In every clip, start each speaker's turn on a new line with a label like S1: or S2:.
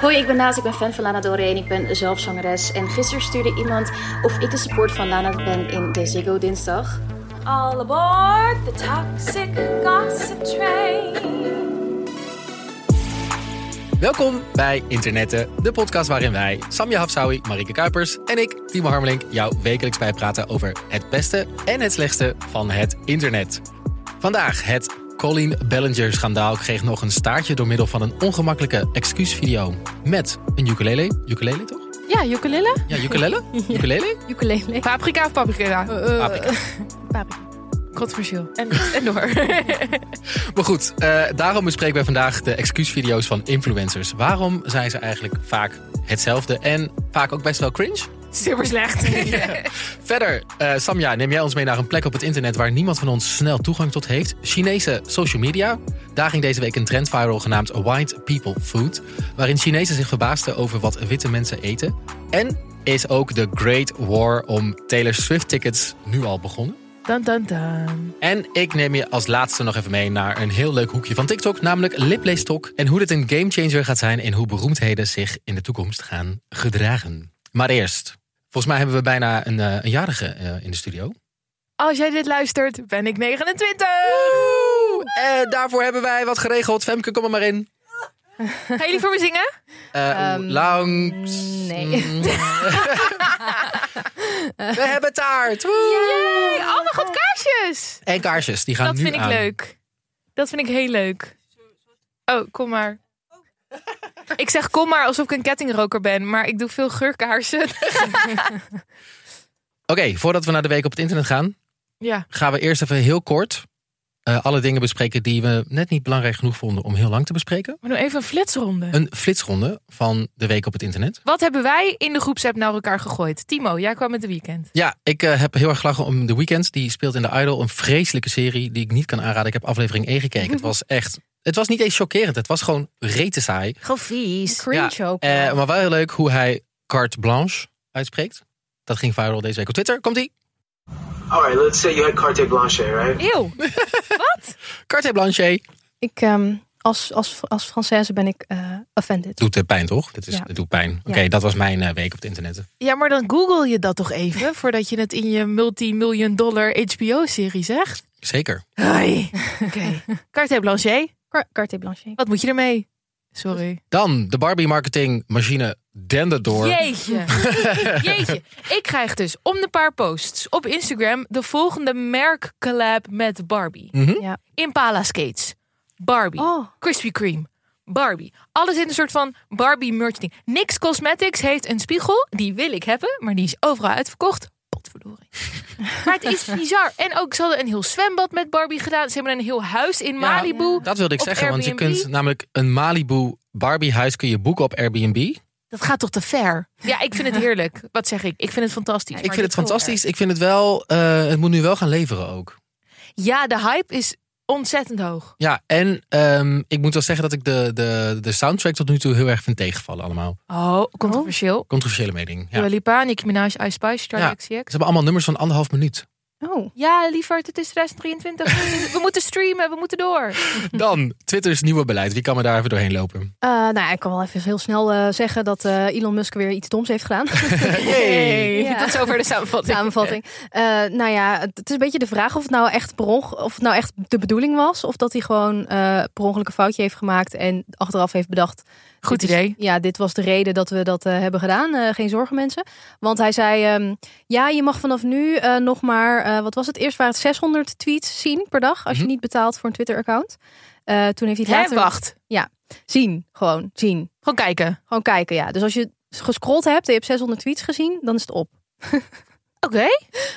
S1: Hoi, ik ben Naas, ik ben fan van Lana Del Rey en ik ben zelf zangeres. En gisteren stuurde iemand of ik de support van Lana ben in de Ziggo dinsdag.
S2: All aboard the toxic gossip train.
S3: Welkom bij Internetten, de podcast waarin wij, Samja Hafsawi, Marike Kuipers en ik, Timo Harmelink, jou wekelijks bijpraten over het beste en het slechtste van het internet. Vandaag het Colin Bellinger schandaal kreeg nog een staartje door middel van een ongemakkelijke excuusvideo met een ukulele. Ukulele toch?
S4: Ja, ukulele?
S3: Ja, ukulele? Ukulele?
S4: Ukulele.
S5: Paprika of paprika?
S3: Paprika.
S5: Controversieel.
S4: En, en door.
S3: Maar goed, eh, daarom bespreken wij vandaag de excuusvideo's van influencers. Waarom zijn ze eigenlijk vaak hetzelfde en vaak ook best wel cringe?
S5: Super slecht.
S3: Verder, eh, Samja, neem jij ons mee naar een plek op het internet waar niemand van ons snel toegang tot heeft: Chinese social media. Daar ging deze week een trend viral genaamd White People Food, waarin Chinezen zich verbaasden over wat witte mensen eten. En is ook de Great War om Taylor Swift tickets nu al begonnen?
S5: Dan, dan, dan.
S3: En ik neem je als laatste nog even mee naar een heel leuk hoekje van TikTok, namelijk lipleestok. En hoe dit een gamechanger gaat zijn en hoe beroemdheden zich in de toekomst gaan gedragen. Maar eerst, volgens mij hebben we bijna een, eh, een jarige eh, in de studio.
S5: Als jij dit luistert, ben ik 29.
S3: En daarvoor hebben wij wat geregeld. Femke, kom er maar in.
S5: Gaan jullie voor me zingen?
S3: Eh,
S4: Ehm,
S3: langs.
S4: nee.
S3: Mm. we hebben taart. Woe!
S5: Yay! Oh mijn god, kaarsjes!
S3: En kaarsjes, die gaan
S5: Dat
S3: nu
S5: vind ik
S3: aan.
S5: leuk. Dat vind ik heel leuk. Oh, kom maar. Ik zeg kom maar alsof ik een kettingroker ben, maar ik doe veel geurkaarsen.
S3: Oké, voordat we naar de week op het internet gaan,
S5: Ja.
S3: gaan we eerst even heel kort eh, alle dingen bespreken die we net niet belangrijk genoeg vonden om heel lang te bespreken.
S5: We doen even een flitsronde.
S3: Een flitsronde van de week op het internet.
S5: Wat hebben wij in de groepsapp naar elkaar gegooid? Timo, jij kwam met de weekend.
S3: Ja, ik eh, heb heel erg gelachen om The Weeknd. Die speelt in The Idol een vreselijke serie die ik niet kan aanraden. Ik heb aflevering 1 gekeken. Het was echt... Het was niet eens chockerend. Het was gewoon rete saai.
S4: Gewoon vies.
S3: Cringe
S4: ja. ook.
S3: Eh, maar wel heel leuk hoe hij carte blanche uitspreekt. Dat ging viral deze week op Twitter. Komt-ie.
S6: All right, let's say you had carte blanche, right?
S5: Eeuw.
S3: Carte blanche.
S7: Ik, ehm, als, als, als Française ben ik eh, offended.
S3: Doet eh, pijn, toch? Dit is,
S7: Ja.
S3: Het doet pijn. Oké, dat was mijn eh, week op het internet.
S5: Ja, maar dan google je dat toch even voordat je het in je multimillion dollar HBO-serie zegt.
S3: Zeker.
S5: Hoi. Carte blanche,
S7: Car- Carte blanche.
S5: wat moet je ermee? Sorry.
S3: Dan de Barbie-marketingmachine dende door.
S5: Jeetje. Jeetje. Ik krijg dus om de paar posts op Instagram de volgende merkcollab met Barbie.
S3: Mhm.
S7: Ja.
S5: Impala skates. Barbie.
S7: Oh,
S5: Krispy Kreme. Barbie. Alles in een soort van Barbie merchandising. Nix Cosmetics heeft een spiegel. Die wil ik hebben, maar die is overal uitverkocht. Potverdorie. maar het is bizar. En ook ze hadden een heel zwembad met Barbie gedaan. Ze hebben een heel huis in Malibu.
S3: Dat wilde ik
S5: Op
S3: zeggen, want je
S5: Airbnb?
S3: kunt namelijk een Malibu Barbie-huis kun je boeken op Airbnb.
S5: Dat gaat toch te ver? Ja, ik vind het heerlijk. Wat zeg ik? Ik vind het fantastisch.
S3: ik
S5: Maar
S3: vind het
S5: dit-
S3: fantastisch. Ik vind het wel, eh, het moet nu wel gaan leveren ook.
S5: Ja, de hype is ontzettend hoog.
S3: Ja, en ehm, ik moet wel zeggen dat ik de, de, de soundtrack tot nu toe heel erg vind tegenvallen allemaal.
S5: Oh, controversieel.
S3: Controversiële mening. Ja.
S5: Dua
S3: Ze
S5: Lipa, Nicki Minaj, Ice Spice,
S3: Ja.
S5: Charlie XCX.
S3: hebben allemaal nummers van anderhalf minuut.
S7: oh.
S5: Ja, lieverd, het is 2023. we moeten streamen, we moeten door.
S3: Dan Twitter's nieuwe beleid. Wie kan me daar even doorheen lopen?
S7: Eh, nou ja, ik kan wel even heel snel eh, zeggen dat eh, Elon Musk weer iets doms heeft gedaan.
S5: Hey,
S7: Ja.
S5: Tot zover de samenvatting.
S7: Samenvatting. Eh, nou ja, het het is een beetje de vraag of het nou echt, per onge- of het nou echt de bedoeling was. Of dat hij gewoon eh per ongeluk een foutje heeft gemaakt en achteraf heeft bedacht.
S5: Goed
S7: dit is-
S5: idee.
S7: ja, dit was de reden dat we dat eh, hebben gedaan. Eh, geen zorgen mensen. Want hij zei, ehm, ja, je mag vanaf nu eh, nog maar, eh, wat was het? Eerst waren het 600 tweets zien per dag als je niet betaalt voor een Twitter-account. Eh, toen heeft hij
S5: Mhm. Hè,
S7: het later...
S5: wacht.
S7: Zien, gewoon zien.
S5: Gewoon kijken.
S7: Gewoon kijken, ja. Dus als je gescrollt hebt en je hebt 600 tweets gezien, dan is het op.
S5: Oké.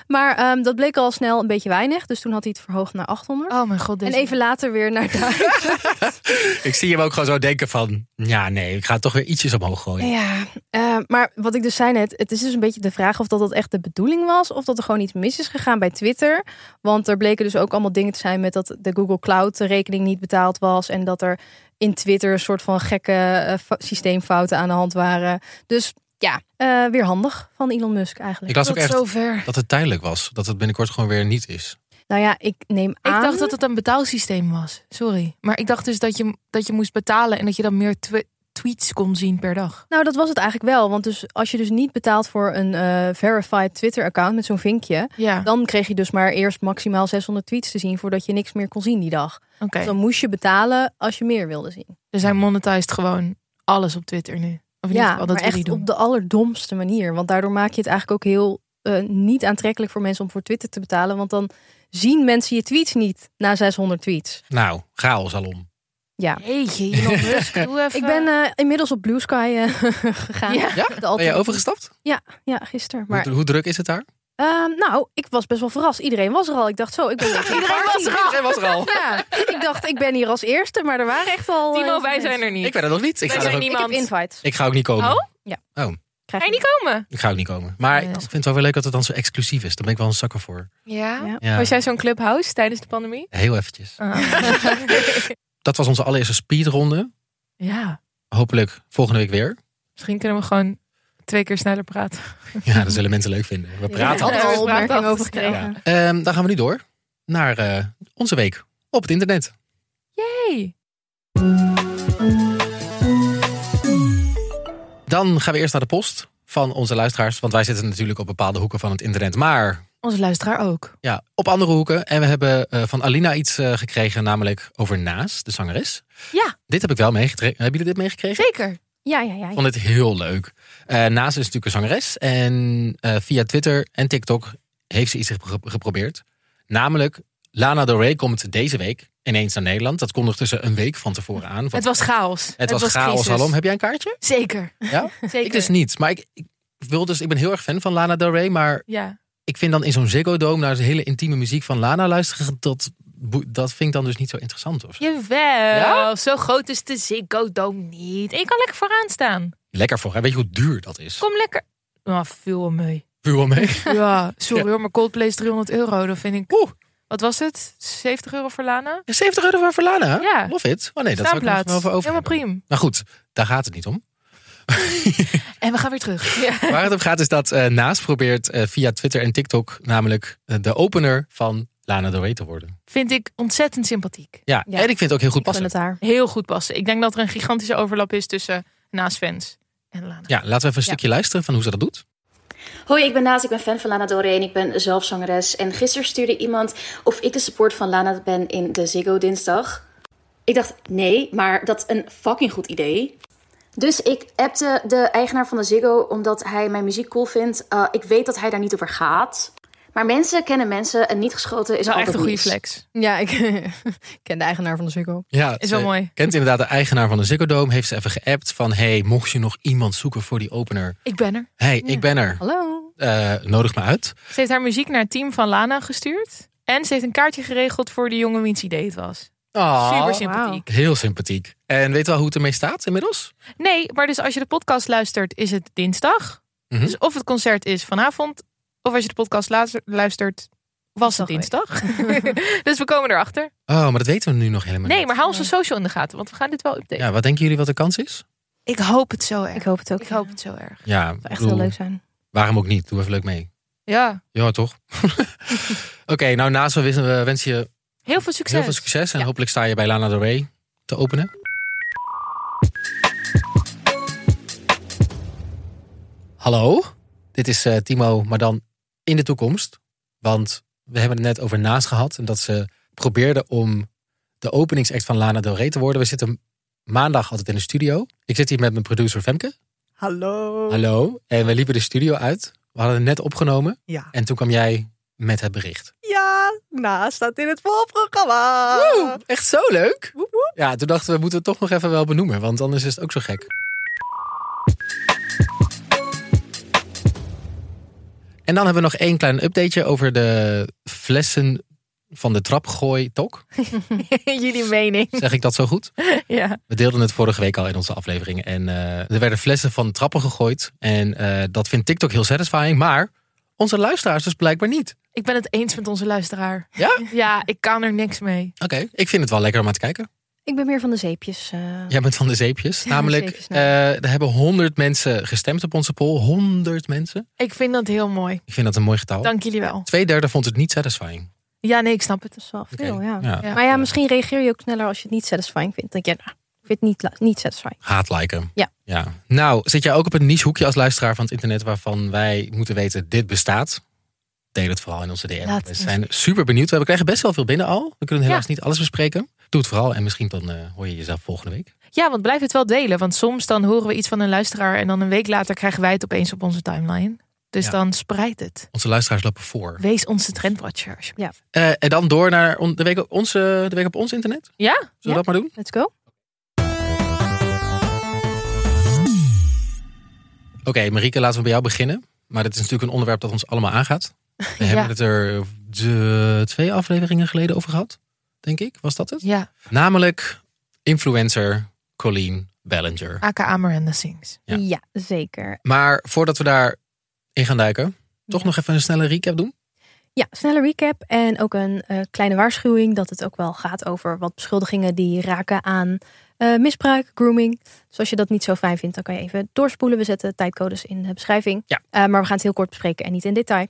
S7: Maar ehm, dat bleek al snel een beetje weinig. Dus toen had hij het verhoogd naar 800.
S5: Oh mijn god.
S7: en
S5: Deze...
S7: even later weer naar daar.
S3: Ik zie hem ook gewoon zo denken van... Ja, nee, ik ga het toch weer ietsjes omhoog gooien.
S7: ja, eh, maar wat ik dus zei net. Het is dus een beetje de vraag of dat, dat echt de bedoeling was. Of dat er gewoon iets mis is gegaan bij Twitter. Want er bleken dus ook allemaal dingen te zijn met dat de Google Cloud de rekening niet betaald was. En dat er in Twitter een soort van gekke eh, fa- systeemfouten aan de hand waren. Dus ja, eh, weer handig van Elon Musk eigenlijk.
S3: Ik las ook echt
S5: zover.
S3: dat het tijdelijk was. Dat het binnenkort gewoon weer niet is.
S7: Nou ja, ik neem aan.
S5: Ik dacht dat het een betaalsysteem was. Sorry. Maar ik dacht dus dat je, dat je moest betalen en dat je dan meer twi- tweets kon zien per dag.
S7: Nou, dat was het eigenlijk wel. Want dus als je dus niet betaalt voor een eh, verified Twitter-account met zo'n vinkje,
S5: Ja,
S7: dan kreeg je dus maar eerst maximaal 600 tweets te zien voordat je niks meer kon zien die dag.
S5: oké.
S7: Dus dan moest je betalen als je meer wilde zien.
S5: Dus hij monetized gewoon alles op Twitter nu. Of in ieder
S7: Ja,
S5: geval,
S7: maar
S5: dat wil hij
S7: echt
S5: doen.
S7: op de allerdomste manier. Want daardoor maak je het eigenlijk ook heel eh, niet aantrekkelijk voor mensen om voor Twitter te betalen. Want dan zien mensen je tweets niet na 600 tweets.
S3: Nou, chaosalon.
S7: Ja.
S5: Jeetje, Elon Musk, doe even.
S7: Ik ben eh, inmiddels op Blue Sky eh, gegaan.
S5: Ja.
S3: Ja?
S7: De
S3: Ben je
S7: alternatieve-
S3: overgestapt?
S7: Ja, gisteren.
S3: Hoe-
S7: Maar
S3: Hoe, druk is het daar?
S7: ehm, nou, ik was best wel verrast. Iedereen was er al. Ik dacht zo, ik ben Iedereen was
S3: Iedereen was er al.
S7: Ja, ik dacht, ik ben hier als eerste. Maar er waren echt al... eh, heel
S5: Timo,
S7: veel
S5: wij
S7: mensen.
S5: zijn er niet.
S3: Ik ben er nog niet. Ik
S5: Wij
S3: ga,
S5: zijn
S3: er ook-
S5: niet-
S7: Ik heb
S5: Niemand.
S7: invites.
S3: ik ga ook niet komen.
S5: Oh?
S7: Krijg
S5: Ga je
S7: ik.
S5: niet komen?
S3: Ik ga ook niet komen. Maar
S5: Ja.
S3: ik vind het wel weer leuk dat het dan zo exclusief is. Daar ben ik wel een zakker voor.
S5: Ja.
S7: Ja.
S3: Ja,
S5: Was jij zo'n clubhouse tijdens de pandemie?
S3: heel eventjes.
S5: Ah.
S3: Dat was onze allereerste speedronde.
S5: ja,
S3: Hopelijk volgende week weer.
S5: misschien kunnen we gewoon twee keer sneller praten.
S3: Ja, dat zullen mensen leuk vinden. We praten
S7: Ik had
S5: Ja,
S7: er
S5: we
S7: al opmerkingen
S5: praten
S7: over
S5: altijd.
S7: gekregen.
S3: Ja. Ehm, dan gaan we nu door naar eh, onze week op het internet.
S5: Hey.
S3: Dan gaan we eerst naar de post van onze luisteraars. Want wij zitten natuurlijk op bepaalde hoeken van het internet. Maar
S5: Onze luisteraar ook.
S3: ja, op andere hoeken. En we hebben eh, van Alina iets eh, gekregen, namelijk over Naas, de zangeres.
S5: Ja.
S3: Dit heb ik wel meegekregen. Hebben jullie dit meegekregen?
S5: Zeker.
S7: Ja, ja, ja.
S3: Ik vond het heel leuk. Eh Naast is natuurlijk een zangeres. En eh, via Twitter en TikTok heeft ze iets gepro- geprobeerd. Namelijk, Lana Del Rey komt deze week ineens naar Nederland. Dat kondigde ze een week van tevoren aan. Want
S5: Het was chaos.
S3: het was chaos
S5: crisis.
S3: alom. Heb jij een kaartje?
S5: Zeker.
S3: Ja?
S5: Zeker.
S3: Ik dus niet. Maar ik, ik, wil dus, ik ben heel erg fan van Lana Del Rey. Maar
S5: Ja.
S3: ik vind dan in zo'n Ziggo Dome naar de hele intieme muziek van Lana luisteren... dat, boe- dat vind ik dan dus niet zo interessant. Of zo.
S5: Jawel.
S3: Ja?
S5: Zo groot is de Ziggo Dome niet. En je kan lekker vooraan staan.
S3: Lekker voor haar. Weet je hoe duur dat is?
S5: Kom lekker. Nou, viel wel mee.
S3: Vuur wel mee.
S5: Ja, sorry hoor, maar Coldplay is 300 euro. Dat vind ik...
S3: Oeh.
S5: Wat was het? 70 euro voor Lana?
S3: 70 euro voor Lana?
S5: Ja.
S3: Love it. Oh nee, dat zou ik er nog
S5: Staanplaats.
S3: wel voor over
S5: Helemaal
S3: hebben.
S5: prima.
S3: Nou goed, daar gaat het niet om.
S5: En we gaan weer terug.
S3: Waar het om gaat is dat eh Naast probeert eh, via Twitter en TikTok namelijk eh, de opener van Lana Del Rey te worden.
S5: Vind ik ontzettend sympathiek.
S3: Ja,
S7: Ja.
S3: en ik vind het ook heel goed
S7: Ik vind
S3: passen.
S7: het haar.
S5: Heel goed passen. Ik denk dat er een gigantische overlap is tussen naast fans en Lana.
S3: Ja, laten we even een stukje luisteren van hoe ze dat doet.
S1: Hoi, ik ben Naas, ik ben fan van Lana Del Rey en ik ben zelf zangeres. En gisteren stuurde iemand of ik de support van Lana ben in de Ziggo dinsdag. Ik dacht, nee, maar dat is een fucking goed idee. Dus ik appte de eigenaar van de Ziggo omdat hij mijn muziek cool vindt. Eh, ik weet dat hij daar niet over gaat. Maar mensen kennen mensen en niet geschoten is
S5: Wel
S1: altijd
S5: echt een goede
S1: mis.
S5: flex.
S7: Ja, ik ken de eigenaar van de Ziggo.
S3: Ja,
S5: Is wel
S3: ze
S5: mooi.
S3: Kent inderdaad de eigenaar van de Ziggo Dome. Heeft ze even geappt van, hey, mocht je nog iemand zoeken voor die opener?
S5: Ik ben er.
S3: hey, ik ben er.
S7: Hallo.
S3: Eh, nodig me uit.
S5: Ze heeft haar muziek naar het team van Lana gestuurd. En ze heeft een kaartje geregeld voor de jongen wiens idee het was.
S3: Ah,
S5: Super sympathiek.
S3: Heel sympathiek. En weet je wel hoe het ermee staat inmiddels?
S5: Nee, maar dus als je de podcast luistert, is het dinsdag.
S3: Mhm.
S5: Dus of het concert is vanavond, of als je de podcast later luistert, was het dinsdag. dus we komen erachter.
S3: Oh, maar dat weten we nu nog helemaal
S5: Nee,
S3: niet.
S5: maar hou onze social in de gaten, want we gaan dit wel updaten.
S3: Ja, wat denken jullie wat de kans is?
S5: Ik hoop het zo erg.
S7: Ik
S5: Ik
S7: hoop het ook.
S5: hoop,
S7: ja.
S5: het zo erg.
S3: Ja,
S7: Het zou echt
S3: bedoel,
S7: heel leuk zijn.
S3: Waarom ook niet? Doe even leuk mee.
S5: Ja,
S3: Ja, toch? Oké, nou naast we wensen, we wensen je
S5: heel veel succes.
S3: heel veel succes. En hopelijk sta je bij Lana Del Rey te openen. Hallo, dit is eh, Timo, maar dan in de toekomst. Want we hebben het net over naast gehad. En dat ze probeerde om de openingsact van Lana Del Rey te worden. We zitten maandag altijd in de studio. Ik zit hier met mijn producer Femke.
S8: Hallo.
S3: Hallo. En we liepen de studio uit. We hadden het net opgenomen.
S8: Ja.
S3: En toen kwam jij met het bericht.
S8: Ja, naast staat in het voorprogramma.
S3: echt zo leuk.
S8: Woep, woep.
S3: Ja, toen dachten we, moeten we het toch nog even wel benoemen. Want anders is het ook zo gek. En dan hebben we nog één klein updateje over de flessen van de trapgooi-tok.
S5: Jullie mening.
S3: Zeg ik dat zo goed?
S5: Ja.
S3: We deelden het vorige week al in onze afleveringen. En eh, er werden flessen van trappen gegooid. En eh, dat vindt TikTok heel satisfying. Maar onze luisteraars dus blijkbaar niet.
S5: Ik ben het eens met onze luisteraar.
S3: Ja?
S5: Ja, ik kan er niks mee.
S3: Oké, ik vind het wel lekker om aan te kijken.
S7: Ik ben meer van de zeepjes. eh.
S3: Jij bent van de zeepjes. Namelijk,
S7: zeepjes,
S5: nou.
S3: eh, er hebben 100 mensen gestemd op onze poll. 100 mensen.
S5: Ik vind dat heel mooi.
S3: Ik vind dat een mooi getal.
S5: Dank jullie wel.
S3: Tweederde vond het niet satisfying.
S5: Ja, nee, ik snap het.
S7: Dat is wel
S3: Oké,
S7: veel, ja.
S5: Ja.
S7: Maar ja, misschien reageer je ook sneller als je het niet satisfying vindt. Dan denk je, nou, Ik vind het niet, la- niet satisfying.
S3: Haat liken.
S7: Ja.
S3: ja. Nou, zit jij ook op een niche hoekje als luisteraar van het internet waarvan wij moeten weten dit bestaat? Deel het vooral in onze DM.
S7: Laat
S3: we
S7: het
S3: zijn super benieuwd. We krijgen best wel veel binnen al. We kunnen helaas niet alles bespreken. Doe het vooral en misschien dan eh, hoor je jezelf volgende week.
S5: Ja, want blijf het wel delen. Want soms dan horen we iets van een luisteraar en dan een week later krijgen wij het opeens op onze timeline. Dus
S3: Ja.
S5: dan spreid het.
S3: Onze luisteraars lopen voor.
S5: Wees onze trendwatcher. alsjeblieft.
S3: Eh, en dan door naar on- de, week op onze, de week op ons internet. Zullen
S5: Ja?
S3: we dat maar doen?
S7: Let's go.
S3: Oké, Marieke, laten we bij jou beginnen. Maar dit is natuurlijk een onderwerp dat ons allemaal aangaat. We hebben het er de twee afleveringen geleden over gehad, denk ik. Was dat het?
S5: Ja,
S3: Namelijk influencer Colleen Ballinger.
S5: aka Miranda Sings.
S3: Ja.
S7: Ja, zeker.
S3: Maar voordat we daarin gaan duiken, toch nog even een snelle recap doen?
S7: Ja, snelle recap en ook een eh, kleine waarschuwing dat het ook wel gaat over wat beschuldigingen die raken aan eh, misbruik, grooming. Dus als je dat niet zo fijn vindt, dan kan je even doorspoelen. We zetten tijdcodes in de beschrijving.
S3: Ja.
S7: Eh, maar we gaan het heel kort bespreken en niet in detail.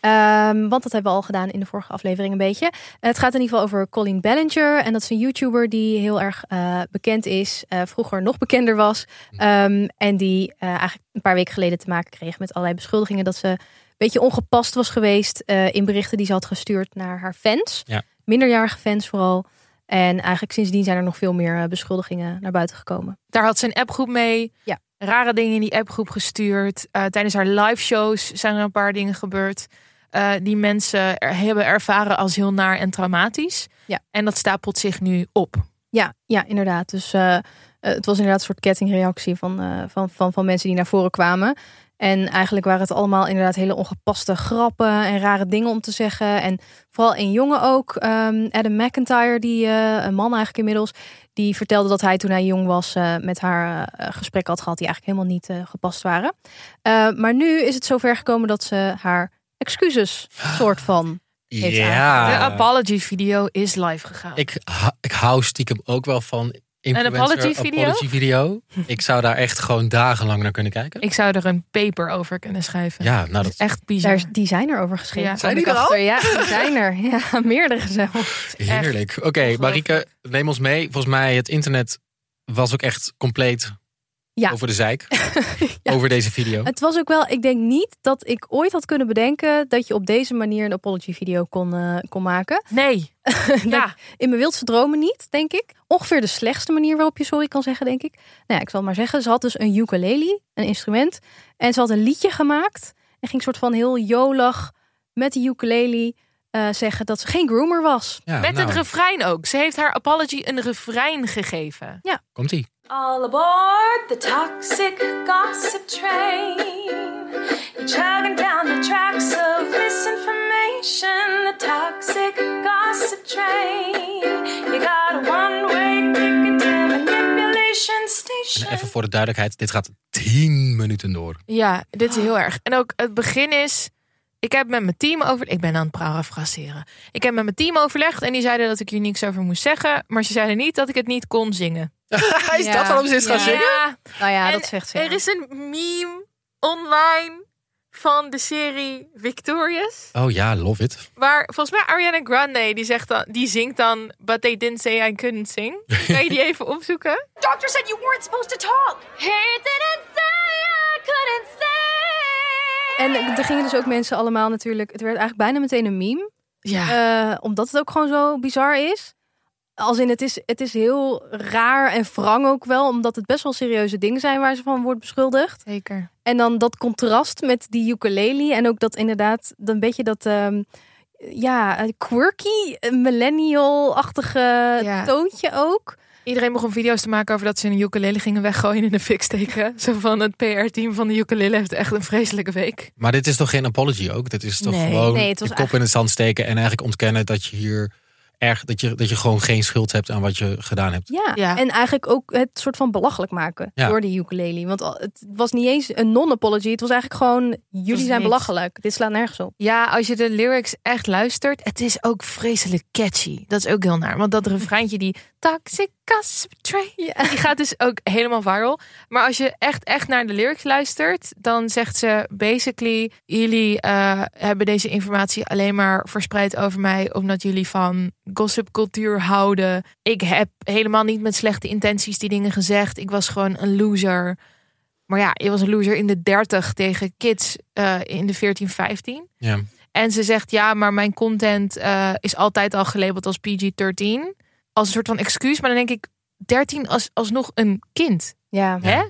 S7: Ehm, want dat hebben we al gedaan in de vorige aflevering een beetje. Het gaat in ieder geval over Colin Ballinger. En dat is een YouTuber die heel erg eh, bekend is. eh, vroeger nog bekender was. Ehm, en die eh, eigenlijk een paar weken geleden te maken kreeg met allerlei beschuldigingen. Dat ze een beetje ongepast was geweest eh, in berichten die ze had gestuurd naar haar fans.
S3: Ja.
S7: Minderjarige fans vooral. En eigenlijk sindsdien zijn er nog veel meer eh, beschuldigingen naar buiten gekomen.
S5: Daar had ze een appgroep mee.
S7: Ja.
S5: Rare dingen in die appgroep gestuurd. Eh, tijdens haar live shows zijn er een paar dingen gebeurd. eh, die mensen er, hebben ervaren als heel naar en traumatisch.
S7: Ja.
S5: En dat stapelt zich nu op.
S7: Ja, ja inderdaad. Dus eh, eh, het was inderdaad een soort kettingreactie van, eh, van, van, van mensen die naar voren kwamen. En eigenlijk waren het allemaal inderdaad hele ongepaste grappen en rare dingen om te zeggen. En vooral een jongen ook, ehm, Adam McIntyre, die, eh, een man eigenlijk inmiddels, die vertelde dat hij toen hij jong was eh, met haar eh, gesprekken had gehad die eigenlijk helemaal niet eh, gepast waren. Eh, maar nu is het zover gekomen dat ze haar excuses soort van. Heeft
S5: De apology video is live gegaan.
S3: Ah. Ik, ha- ik hou stiekem ook wel van influencer
S5: apology video?
S3: apology video. Ik zou daar echt gewoon dagenlang naar kunnen kijken.
S5: Ik zou er een paper over kunnen schrijven.
S3: Ja, nou dat
S5: Dat is echt bizar.
S7: Daar, is- die zijn er over geschreven.
S5: Ja.
S3: Zijn
S7: kwam
S3: die
S7: ik
S3: er al?
S7: achter. Ja, die zijn er. Ja, meerdere zelfs.
S3: is heerlijk. Oké, Marieke, neem ons mee. Volgens mij het internet was ook echt compleet
S7: Ja.
S3: over de zeik.
S7: Ja.
S3: Over deze video.
S7: Het was ook wel, ik denk niet dat ik ooit had kunnen bedenken dat je op deze manier een apology video kon, eh, kon maken.
S5: Nee. ja.
S7: In mijn wildste dromen niet, denk ik. Ongeveer de slechtste manier waarop je sorry kan zeggen, denk ik. Nou ja, ik zal het maar zeggen. Ze had dus een ukulele, een instrument. En ze had een liedje gemaakt. En ging soort van heel jolig met die ukulele eh, zeggen dat ze geen groomer was.
S3: Ja,
S5: Met
S3: nou,
S5: een refrein ook. Ze heeft haar apology een refrein gegeven.
S3: Komt-ie.
S2: All aboard the toxic gossip train. You're chugging down the tracks of misinformation, the toxic gossip train. You got a one way ticket to manipulation
S3: En
S2: station.
S5: Eh.
S3: even voor de duidelijkheid, dit gaat tien minuten door.
S5: Ja, dit is heel erg. En ook het begin is. Ik heb met mijn team over. Ik ben aan het parafraseren. Ik heb met mijn team overlegd en die zeiden dat ik hier niks over moest zeggen. Maar ze zeiden niet dat ik het niet kon zingen.
S3: Is
S7: Ja.
S3: dat waarom ze is gaan
S7: Ja.
S3: zingen?
S5: Ja,
S7: Nou ja,
S5: En
S7: dat zegt ze. ja.
S5: er is een meme online van de serie Victorious.
S3: Oh ja, love it.
S5: Waar volgens mij Ariana Grande die, zegt dan, die zingt dan. But they didn't say I couldn't sing. Kan je die even opzoeken?
S2: Doctor said you weren't supposed to talk. He didn't say I couldn't say.
S7: En er gingen dus ook mensen allemaal natuurlijk. Het werd eigenlijk bijna meteen een meme.
S5: Ja.
S7: Eh, omdat het ook gewoon zo bizar is. Als in, het is, het is heel raar en wrang ook wel. Omdat het best wel serieuze dingen zijn waar ze van wordt beschuldigd.
S5: Zeker.
S7: En dan dat contrast met die ukulele. En ook dat inderdaad, dan een beetje dat... ehm, ja, eh, quirky, eh, millennial-achtige
S5: Ja.
S7: toontje ook.
S5: Iedereen begon video's te maken over dat ze een ukulele gingen weggooien in de fik steken. Zo van het PR-team van de ukulele heeft echt een vreselijke week.
S3: Maar dit is toch geen apology ook? Dit is toch
S5: Nee.
S3: gewoon
S7: Nee, het was
S3: je kop in het zand steken en eigenlijk ontkennen dat je hier erg, dat je, dat je gewoon geen schuld hebt aan wat je gedaan hebt.
S7: Ja.
S5: Ja.
S7: en eigenlijk ook het soort van belachelijk maken
S3: Ja.
S7: door die ukulele. Want al- het was niet eens een non-apology. Het was eigenlijk gewoon, jullie zijn
S5: niks.
S7: belachelijk. Dit slaat nergens op.
S5: Ja, als je de lyrics echt luistert, het is ook vreselijk catchy. Dat is ook heel naar. Want dat refreintje die toxic Gossip Train.
S7: Ja.
S5: Die gaat dus ook helemaal viral. Maar als je echt, echt naar de lyrics luistert, dan zegt ze basically: Jullie eh, hebben deze informatie alleen maar verspreid over mij, omdat jullie van gossipcultuur houden. Ik heb helemaal niet met slechte intenties die dingen gezegd. Ik was gewoon een loser. Maar ja, je was een loser in de 30 tegen kids eh, in de 14, 15.
S3: Ja.
S5: En ze zegt ja, maar mijn content eh, is altijd al gelabeld als PG-13. Als een soort van excuus. Maar dan denk ik 13 als, alsnog een kind.
S7: Ja.
S5: Hè?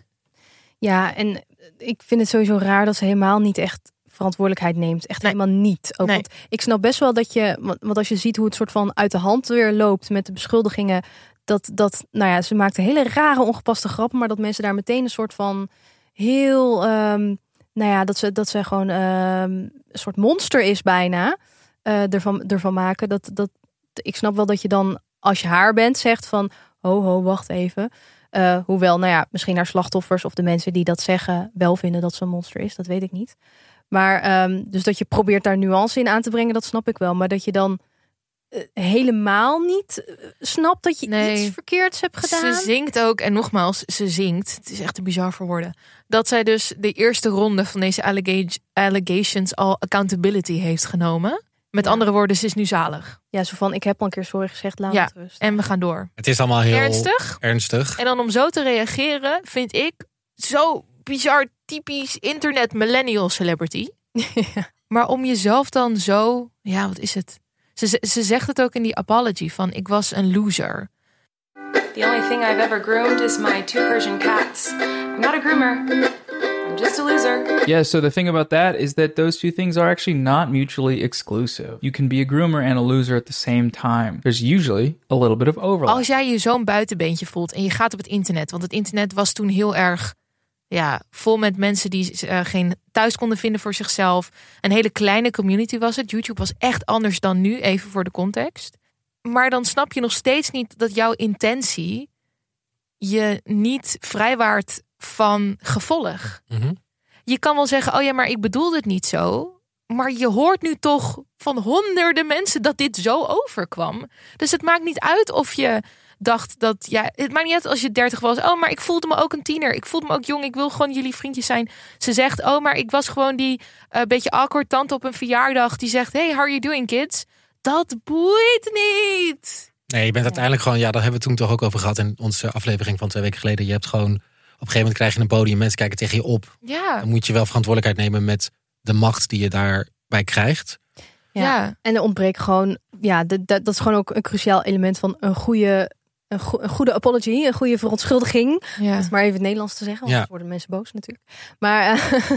S7: ja, en eh, ik vind het sowieso raar dat ze helemaal niet echt verantwoordelijkheid neemt. Echt
S5: Nee.
S7: helemaal niet. Ook,
S5: Nee.
S7: want ik snap best wel dat je, want want als je ziet hoe het soort van uit de hand weer loopt met de beschuldigingen, dat, dat nou ja, ze maakt hele rare ongepaste grappen, maar dat mensen daar meteen een soort van heel, ehm, nou ja, dat ze, dat ze gewoon ehm, een soort monster is bijna, eh, ervan, ervan maken. Dat, dat, ik snap wel dat je dan, als je haar bent, zegt van, ho ho, wacht even. Eh, hoewel, nou ja, misschien haar slachtoffers of de mensen die dat zeggen wel vinden dat ze een monster is, dat weet ik niet. Maar ehm, dus dat je probeert daar nuance in aan te brengen, dat snap ik wel. Maar dat je dan eh, helemaal niet eh, snapt dat je
S5: Nee.
S7: iets verkeerds hebt gedaan.
S5: Ze zingt ook, en nogmaals, ze zingt. Het is echt te bizar voor woorden. Dat zij dus de eerste ronde van deze allega- allegations al accountability heeft genomen. Met
S7: Ja.
S5: andere woorden, ze is nu zalig.
S7: Ja, zo van, ik heb al een keer sorry gezegd, laat
S5: Ja,
S7: het rust.
S5: En we gaan door.
S3: Het is allemaal heel
S5: Ernstig?
S3: ernstig.
S5: En dan om zo te reageren, vind ik zo bizar typisch internet millennial celebrity. Maar om jezelf dan zo, ja, wat is het? Ze, ze- ze zegt het ook in die apology van ik was een loser.
S2: The only thing I've ever groomed is my two Persian cats. I'm not a groomer. I'm just a loser.
S9: Yeah, so the thing about that is that those two things are actually not mutually exclusive. You can be a groomer and a loser at the same time. There's usually a little bit of overlap.
S5: Als jij je zo'n buitenbeentje voelt en je gaat op het internet, want het internet was toen heel erg ja, vol met mensen die eh, geen thuis konden vinden voor zichzelf. Een hele kleine community was het. YouTube was echt anders dan nu, even voor de context. Maar dan snap je nog steeds niet dat jouw intentie je niet vrijwaart van gevolg.
S3: Mhm.
S5: je kan wel zeggen, oh ja, maar ik bedoel het niet zo. Maar je hoort nu toch van honderden mensen dat dit zo overkwam. Dus het maakt niet uit of je dacht dat, ja, het maakt niet uit als je dertig was. Oh, maar ik voelde me ook een tiener. Ik voelde me ook jong. Ik wil gewoon jullie vriendjes zijn. Ze zegt, oh, maar ik was gewoon die eh, beetje awkward tante op een verjaardag. Die zegt, hey, how are you doing, kids? Dat boeit niet.
S3: Nee, je bent uiteindelijk gewoon, ja, daar hebben we het toen toch ook over gehad in onze aflevering van twee weken geleden. Je hebt gewoon, op een gegeven moment krijg je een podium, mensen kijken tegen je op.
S5: Ja,
S3: Dan moet je wel verantwoordelijkheid nemen met de macht die je daarbij krijgt.
S5: ja.
S7: En er ontbreekt gewoon, ja, de- de- dat is gewoon ook een cruciaal element van een goede, een, go- een goede apology, een goede verontschuldiging.
S5: ja.
S7: Om het maar even in het Nederlands te zeggen, want
S3: Ja.
S7: anders worden mensen boos natuurlijk. Maar eh,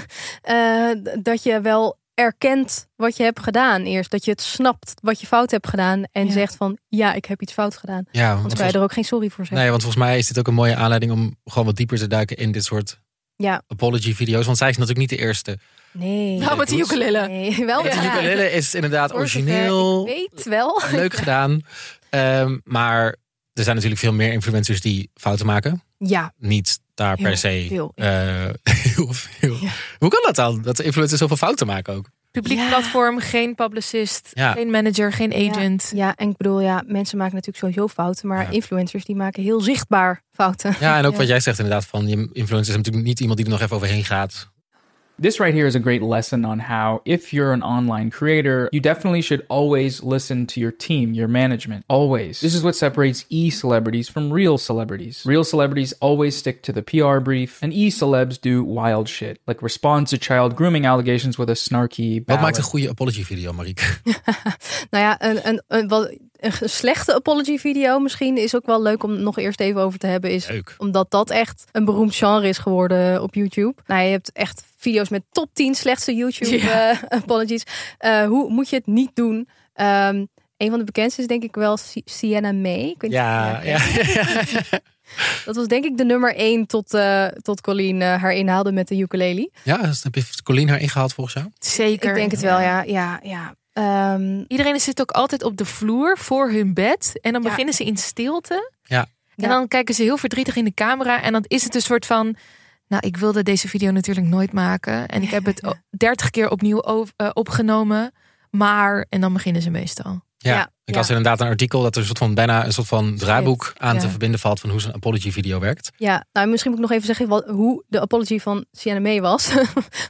S7: eh, d- dat je wel erkent wat je hebt gedaan eerst. Dat je het snapt wat je fout hebt gedaan en
S5: Ja.
S7: zegt van ja, ik heb iets fout gedaan.
S3: Ja, want
S7: Anders kan je
S3: volgens-
S7: er ook geen sorry voor zeggen.
S3: nee, want volgens mij is dit ook een mooie aanleiding om gewoon wat dieper te duiken in dit soort
S7: Ja.
S3: apology video's. Want zij is natuurlijk niet de eerste.
S7: Nee.
S5: Nou, met de ukulele.
S7: Nee, wel
S5: Ja.
S3: Met de
S7: Oh, ja.
S3: ukulele is het inderdaad
S7: Voor zover
S3: origineel.
S7: Ik weet wel.
S3: Leuk gedaan. Ehm, maar er zijn natuurlijk veel meer influencers die fouten maken.
S7: Ja,
S3: Niet daar
S7: Heel
S3: per se.
S7: veel.
S3: eh, heel veel. Hoe kan dat dan? Dat influencers zoveel fouten maken ook.
S5: Publiek
S7: Ja.
S5: platform, geen publicist,
S3: Ja.
S5: geen manager, geen agent.
S7: ja, en ik bedoel, ja, mensen maken natuurlijk sowieso fouten, maar
S3: Ja.
S7: influencers die maken heel zichtbaar fouten.
S3: Ja, en ook
S5: Ja.
S3: wat jij zegt inderdaad van je influencers is natuurlijk niet iemand die er nog even overheen gaat.
S9: This right here is a great lesson on how, if you're an online creator, you definitely should always listen to your team, your management. Always. This is what separates e celebrities from real celebrities. Real celebrities always stick to the PR brief, and e celebs do wild shit, like respond to child grooming allegations with a snarky.
S3: Wat
S9: ballad.
S3: maakt een goede apology video, Marieke?
S7: Nou ja, een, een, een, wat- een ge- slechte apology video misschien is ook wel leuk om nog eerst even over te hebben. Is
S3: Leuk.
S7: omdat dat echt een beroemd genre is geworden op YouTube. Nou, je hebt echt video's met top 10 slechtste YouTube
S5: Ja.
S7: eh, apologies. Eh, hoe moet je het niet doen? Ehm, een van de bekendste is denk ik wel Si- Sienna May. Ik weet niet of
S3: Ja,
S7: je haar
S3: ja.
S7: kent. Dat was denk ik de nummer 1 tot, eh, tot Colleen eh, haar inhaalde met de ukulele.
S3: ja dus heb je Colleen haar ingehaald volgens jou?
S5: Zeker.
S7: Ik denk het wel, ja. ja, ja. Ehm,
S5: Iedereen zit ook altijd op de vloer voor hun bed. En dan
S7: Ja.
S5: beginnen ze in stilte.
S3: Ja.
S5: En dan kijken ze heel verdrietig in de camera. En dan is het een soort van. Nou, ik wilde deze video natuurlijk nooit maken. En ik heb het dertig keer opnieuw o- eh, opgenomen. Maar. En dan beginnen ze meestal.
S3: Ja,
S7: Ja,
S3: ik
S7: ja.
S3: las inderdaad een artikel dat er een soort van bijna een soort van draaiboek aan te
S7: ja.
S3: verbinden valt van hoe zo'n apology video werkt.
S7: Ja, nou misschien moet ik nog even zeggen wat, hoe de apology van Sienna May was.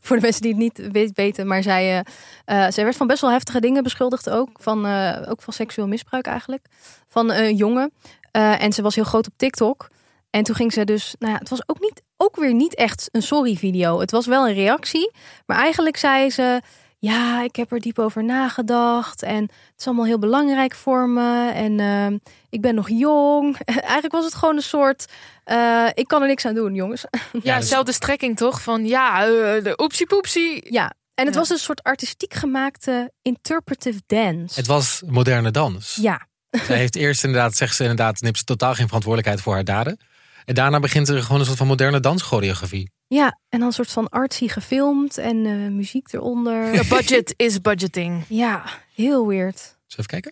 S7: Voor de mensen die het niet we- weten. Maar zij, eh, eh, zij werd van best wel heftige dingen beschuldigd ook. Van, eh, ook van seksueel misbruik eigenlijk. Van eh, een jongen. Eh, en ze was heel groot op TikTok. En toen ging ze dus, nou ja, het was ook, niet, ook weer niet echt een sorry video. Het was wel een reactie. Maar eigenlijk zei ze, ja, ik heb er diep over nagedacht. En het is allemaal heel belangrijk voor me. En ehm, ik ben nog jong. eigenlijk was het gewoon een soort, eh, ik kan er niks aan doen, jongens.
S5: Ja,
S3: dus-
S5: zelfde strekking toch? Van ja, eh, de oepsie poepsie.
S7: ja, en het
S5: Ja.
S7: was een soort artistiek gemaakte interpretive dance.
S3: Het was moderne dans.
S7: Ja,
S3: Zij heeft eerst inderdaad, zegt ze inderdaad, neemt ze totaal geen verantwoordelijkheid voor haar daden. En daarna begint er gewoon een soort van moderne danschoreografie.
S7: ja, en dan een soort van artsy gefilmd en eh, muziek eronder.
S5: The budget is budgeting.
S7: ja, heel weird.
S3: Zullen we even kijken?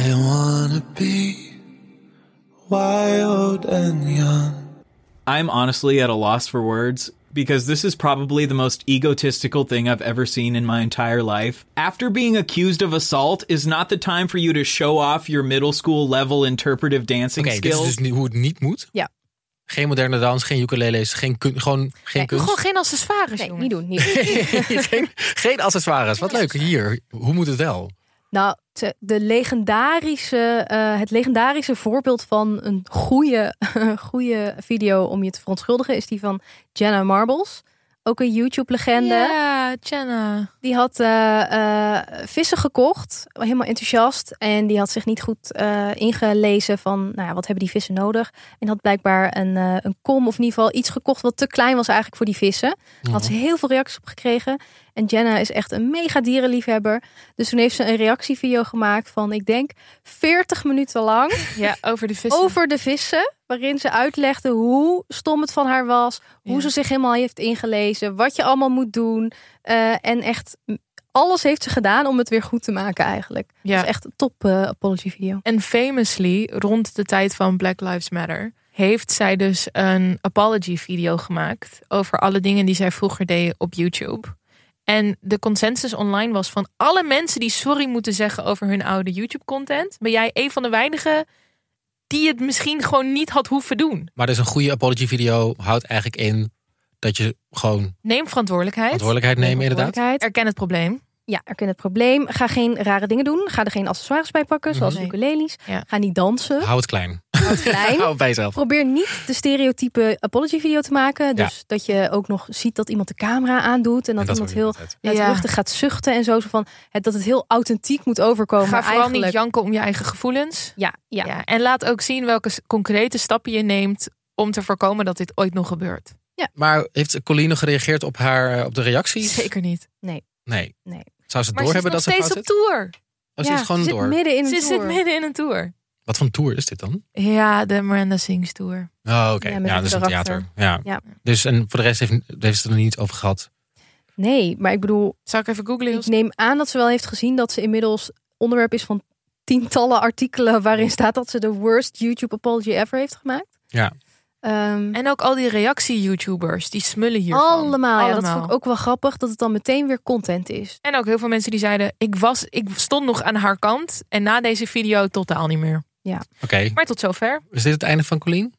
S10: I wanna be wild and young.
S11: I'm honestly at a loss for words because this is probably the most egotistical thing I've ever seen in my entire life. After being accused of assault is not the time for you to show off your middle school level interpretive dancing
S3: Oké, dit is
S11: skills.
S3: dus nu hoe het niet moet.
S7: Ja.
S3: Geen moderne dans, geen ukuleles, geen kun, gewoon geen
S7: Nee,
S3: kunst.
S5: Gewoon geen accessoires,
S7: Nee,
S5: jongen.
S7: niet doen. Niet doen.
S3: geen, geen accessoires. Wat leuk. Hier, hoe moet het wel?
S7: Nou, te- de legendarische, eh, het legendarische voorbeeld van een goede, goede video om je te verontschuldigen is die van Jenna Marbles. Ook een YouTube-legende.
S5: Ja, Jenna.
S7: Die had eh, eh, vissen gekocht, helemaal enthousiast. En die had zich niet goed eh, ingelezen van nou ja, wat hebben die vissen nodig. En had blijkbaar een, eh, een kom of in ieder geval iets gekocht wat te klein was eigenlijk voor die vissen. Daar had ze heel veel reacties op gekregen. En Jenna is echt een mega dierenliefhebber. Dus toen heeft ze een reactievideo gemaakt van ik denk 40 minuten lang
S5: Ja, over de vissen.
S7: over de vissen. Waarin ze uitlegde hoe stom het van haar was. Hoe
S5: Ja.
S7: ze zich helemaal heeft ingelezen. Wat je allemaal moet doen. eh, en echt mm, alles heeft ze gedaan om het weer goed te maken eigenlijk.
S5: Ja.
S7: Dat is echt een top eh, apology video.
S5: En famously, rond de tijd van Black Lives Matter, heeft zij dus een apology video gemaakt over alle dingen die zij vroeger deed op YouTube. En de consensus online was van alle mensen die sorry moeten zeggen over hun oude YouTube-content, ben jij een van de weinigen die het misschien gewoon niet had hoeven doen.
S3: Maar dus een goede apology video houdt eigenlijk in dat je gewoon
S5: Neem verantwoordelijkheid.
S3: verantwoordelijkheid neemt inderdaad.
S7: Verantwoordelijkheid.
S5: Erken het probleem.
S7: Ja, erken het probleem. Ga geen rare dingen doen. Ga er geen accessoires bij
S3: Mhm.
S7: pakken, zoals
S5: Nee.
S7: ukuleles.
S5: Ja.
S7: Ga niet dansen.
S3: Hou het klein.
S7: Klein.
S3: Hou het bij jezelf.
S7: Probeer niet de stereotype apology video te maken. Dus dat je ook nog ziet dat iemand de camera aandoet. En dat,
S3: En
S7: iemand
S3: hoor je
S7: heel
S3: altijd.
S7: luidruchtig gaat zuchten en zo. zo van, het, dat het heel authentiek moet overkomen.
S5: Ga vooral
S7: Oh, eigenlijk.
S5: niet janken om je eigen gevoelens.
S7: Ja, ja.
S5: Ja, en laat ook zien welke s- concrete stappen je neemt om te voorkomen dat dit ooit nog gebeurt.
S3: Maar heeft Colleen nog gereageerd op, haar, eh, op de reacties?
S5: Zeker niet.
S3: Nee.
S7: Nee.
S3: Zou ze
S5: Maar
S3: door
S5: ze is
S3: hebben
S5: nog
S3: dat ze
S5: steeds
S3: fout
S5: op
S3: zit?
S5: tour.
S3: Oh, ze
S7: Ja,
S3: is gewoon
S7: ze
S3: door.
S7: Zit midden in een
S5: Ze zit
S7: tour.
S5: midden in een tour.
S3: Wat voor een tour is dit dan?
S5: Ja, de Miranda Sings tour.
S3: Oh, oké.
S7: Ja,
S3: Ja,
S7: met het
S3: dat is een
S7: karakter.
S3: theater. Ja.
S7: Ja.
S3: Dus en voor de rest heeft, heeft ze er niet over gehad.
S7: Nee, maar ik bedoel,
S5: Zal ik even googlen?
S7: ik neem aan dat ze wel heeft gezien dat ze inmiddels onderwerp is van tientallen artikelen waarin staat dat ze de worst YouTube apology ever heeft gemaakt.
S3: Ja.
S7: Ehm,
S5: En ook al die reactie-YouTubers, die smullen hier.
S7: allemaal, ja, dat vond ik ook wel grappig dat het dan meteen weer content is.
S5: En ook heel veel mensen die zeiden, ik, was, ik stond nog aan haar kant en na deze video totaal niet meer.
S3: Oké.
S5: Maar tot zover.
S3: Is dit het einde van Colleen?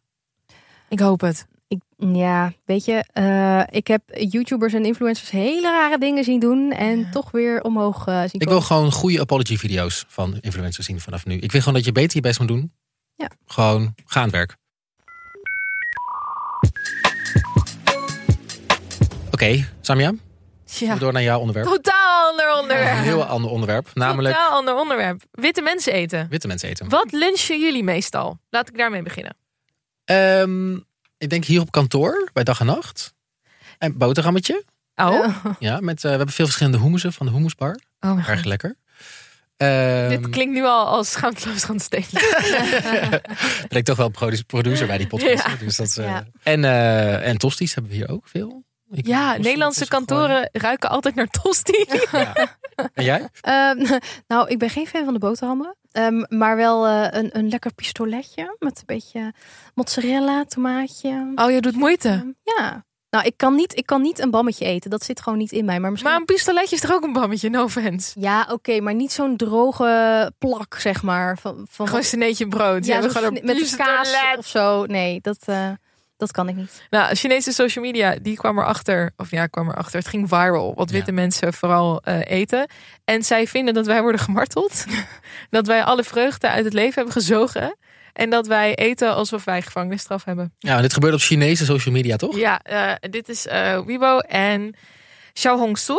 S5: Ik hoop het.
S7: Ik, ja, weet je, eh, ik heb YouTubers en influencers hele rare dingen zien doen en
S5: Ja.
S7: toch weer omhoog eh, zien
S3: Ik wil
S7: komen.
S3: gewoon goede apology video's van influencers zien vanaf nu. Ik vind gewoon dat je beter je best moet doen.
S7: Ja.
S3: Gewoon ga aan het werk. Oké, Samia,
S5: Ja.
S3: we door naar jouw onderwerp.
S5: Totaal ander
S3: Een
S5: onderwerp.
S3: heel ander onderwerp, namelijk
S5: Totaal ander onderwerp. Witte mensen eten.
S3: witte mensen eten.
S5: Wat lunchen jullie meestal? Laat ik daarmee beginnen.
S3: Ehm, ik denk hier op kantoor, bij dag en nacht. En boterhammetje.
S5: Oh,
S3: Ja, met, eh, we hebben veel verschillende hummusen van de hummusbar.
S5: oh mijn god.
S3: Erg lekker. Ehm,
S5: Dit klinkt nu al als schaamteloos gaan stelen.
S3: ben ik toch wel produ- producer bij die podcast.
S5: Ja.
S3: hè, Dus dat, is, eh,
S7: Ja.
S3: en, eh, en tosties hebben we hier ook veel. Ik-
S5: Ja,
S3: tosti-
S5: Nederlandse
S3: tosti
S5: kantoren ruiken altijd naar tosti.
S3: gooien. Ja. En jij?
S7: Ehm, nou, ik ben geen fan van de boterhammen. Ehm, maar wel eh, een, een lekker pistoletje met een beetje mozzarella, tomaatje.
S5: Oh, je doet moeite.
S7: Ehm, ja. Nou, ik kan, niet, ik kan niet een bammetje eten. Dat zit gewoon niet in mij. Maar, misschien...
S5: maar een pistoletje is toch ook een bammetje? No offense.
S7: Ja, oké, maar niet zo'n droge plak, zeg maar. Van, van
S5: Gewoon sneetje brood. Ja,
S7: Ja,
S5: we
S7: zo'n
S5: gaan
S7: sne- met een kaas of zo. Nee, dat, eh, dat kan ik niet.
S5: Nou, Chinese social media, die kwam erachter. Of ja, kwam erachter. Het ging viral. Wat witte mensen vooral eh, eten. En zij vinden dat wij worden gemarteld. dat wij alle vreugde uit het leven hebben gezogen. En dat wij eten alsof wij gevangenisstraf hebben.
S3: Ja, en Nou, dit gebeurt op Chinese social media, toch?
S5: Ja, eh, dit is eh, Weibo en Xiao Hongsu,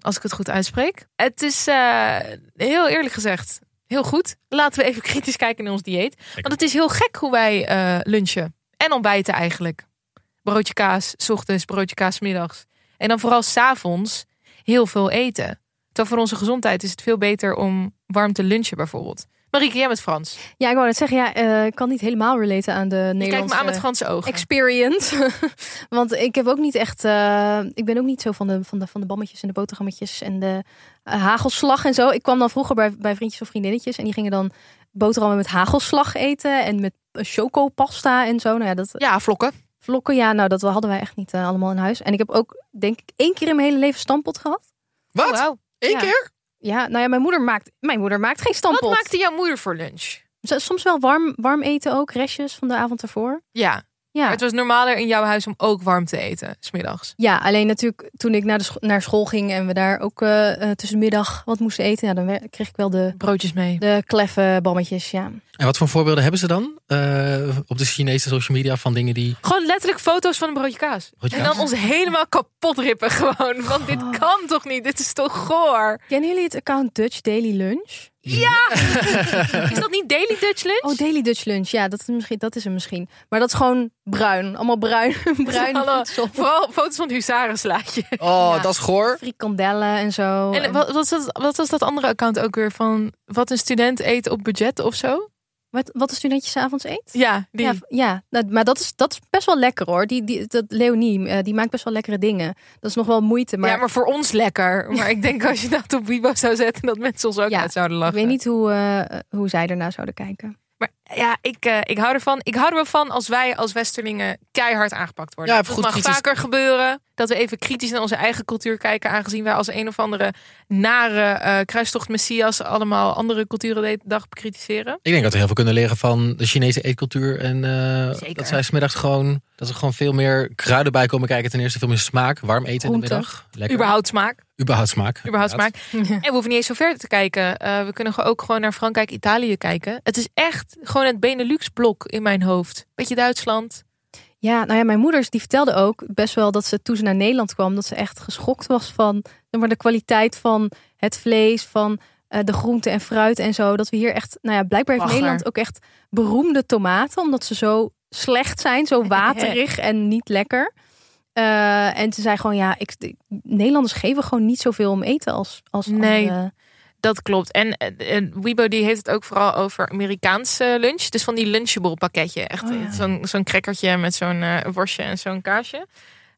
S5: als ik het goed uitspreek. Het is eh, heel eerlijk gezegd heel goed. Laten we even kritisch kijken naar ons dieet. Want het is heel gek hoe wij eh, lunchen en ontbijten eigenlijk. Broodje kaas, 's ochtends, broodje kaas, 's middags. En dan vooral s'avonds heel veel eten. Terwijl voor onze gezondheid is het veel beter om warm te lunchen bijvoorbeeld. Marieke, jij bent Frans.
S7: Ja, ik wou net zeggen, ja, eh, ik kan niet helemaal relaten aan de
S5: Je
S7: Nederlandse...
S5: kijkt me aan met Franse ogen.
S7: experience. Want ik heb ook niet echt. eh, ik ben ook niet zo van de, van, de, van de bammetjes en de boterhammetjes en de eh, hagelslag en zo. Ik kwam dan vroeger bij, bij vriendjes of vriendinnetjes en die gingen dan boterhammen met hagelslag eten en met eh, chocopasta en zo. Nou ja, dat,
S5: ja, vlokken.
S7: Vlokken, ja, nou dat hadden wij echt niet eh, allemaal in huis. En ik heb ook, denk ik, één keer in mijn hele leven stampot gehad.
S3: Wat?
S7: Eén
S3: keer?
S7: Ja, nou ja, mijn moeder maakt, mijn moeder maakt geen stampot.
S5: Wat maakte jouw moeder voor lunch?
S7: Z- Soms wel warm, warm eten ook, restjes van de avond ervoor.
S5: Ja.
S7: Ja.
S5: Maar het was normaler in jouw huis om ook warm te eten, smiddags.
S7: Ja, alleen natuurlijk toen ik naar, de scho- naar school ging en we daar ook eh, eh, tussenmiddag wat moesten eten, ja, dan we- kreeg ik wel de
S5: broodjes mee.
S7: De kleffe bammetjes, ja.
S3: En wat voor voorbeelden hebben ze dan eh, op de Chinese social media van dingen die...
S5: Gewoon letterlijk foto's van een broodje kaas.
S3: Broodje
S5: en
S3: kaas?
S5: dan ons helemaal kapot rippen gewoon. Want
S7: Oh.
S5: dit kan toch niet? Dit is toch goor?
S7: Kennen jullie het account Dutch Daily Lunch?
S5: Ja! is dat niet Daily Dutch Lunch?
S7: Oh, Daily Dutch Lunch, ja, dat is, misschien, dat is hem misschien. Maar dat is gewoon bruin, allemaal bruin, bruin
S5: Alle-
S7: voedsel.
S5: Vooral foto's van het huzarenslaatje.
S3: Oh, dat is goor.
S7: Frikandellen Oh, en zo.
S5: En wat, wat, is dat, wat was dat andere account ook weer van wat een student eet op budget of zo?
S7: Wat, wat een studentje s'avonds eet?
S5: Ja, die.
S7: Ja, v- ja nou, maar dat is, dat is best wel lekker hoor. Die, die, dat Leonie, eh, die maakt best wel lekkere dingen. Dat is nog wel moeite, maar...
S5: Ja, maar voor ons lekker. Maar ik denk als je dat op Bibo zou zetten, dat mensen ons ook uit zouden lachen.
S7: Ik weet niet hoe, eh, hoe zij ernaar zouden kijken.
S5: Maar ja, ik, eh, ik hou ervan. Ik hou er wel van als wij als Westerlingen keihard aangepakt worden.
S3: Ja,
S5: dat
S3: even goed
S5: mag
S3: kritisch-
S5: vaker gebeuren. Dat we even kritisch naar onze eigen cultuur kijken. Aangezien wij als een of andere nare eh kruistocht messias allemaal andere culturen de hele dag bekritiseren.
S3: Ik denk dat we heel veel kunnen leren van de Chinese eetcultuur. En eh, dat zij 's middags gewoon, dat er gewoon veel meer kruiden bij komen kijken. Ten eerste veel meer smaak, warm eten in de
S5: Groenten.
S3: middag. Lekker.
S5: Überhaupt smaak.
S3: Überhaupt smaak.
S5: Überhaupt
S3: inderdaad.
S5: smaak. En we hoeven niet eens zo ver te kijken. Eh, we kunnen gewoon ook gewoon naar Frankrijk, Italië kijken. Het is echt gewoon het Benelux-blok in mijn hoofd. Beetje Duitsland.
S7: Ja, nou ja, mijn moeders die vertelde ook best wel dat ze toen ze naar Nederland kwam, dat ze echt geschokt was van zeg maar, de kwaliteit van het vlees, van eh, de groenten en fruit en zo. Dat we hier echt, nou ja, blijkbaar heeft
S5: Bagger.
S7: Nederland ook echt beroemde tomaten, omdat ze zo slecht zijn, zo waterig en niet lekker. Eh, en ze zei gewoon, ja, ik, de- Nederlanders geven gewoon niet zoveel om eten als, als
S5: Nee.
S7: andere-
S5: Dat klopt. En, eh, en Weibo die heeft het ook vooral over Amerikaanse lunch. Dus van die lunchable pakketje. Echt
S7: Oh, ja.
S5: zo'n zo'n crackertje met zo'n eh, worstje en zo'n kaasje.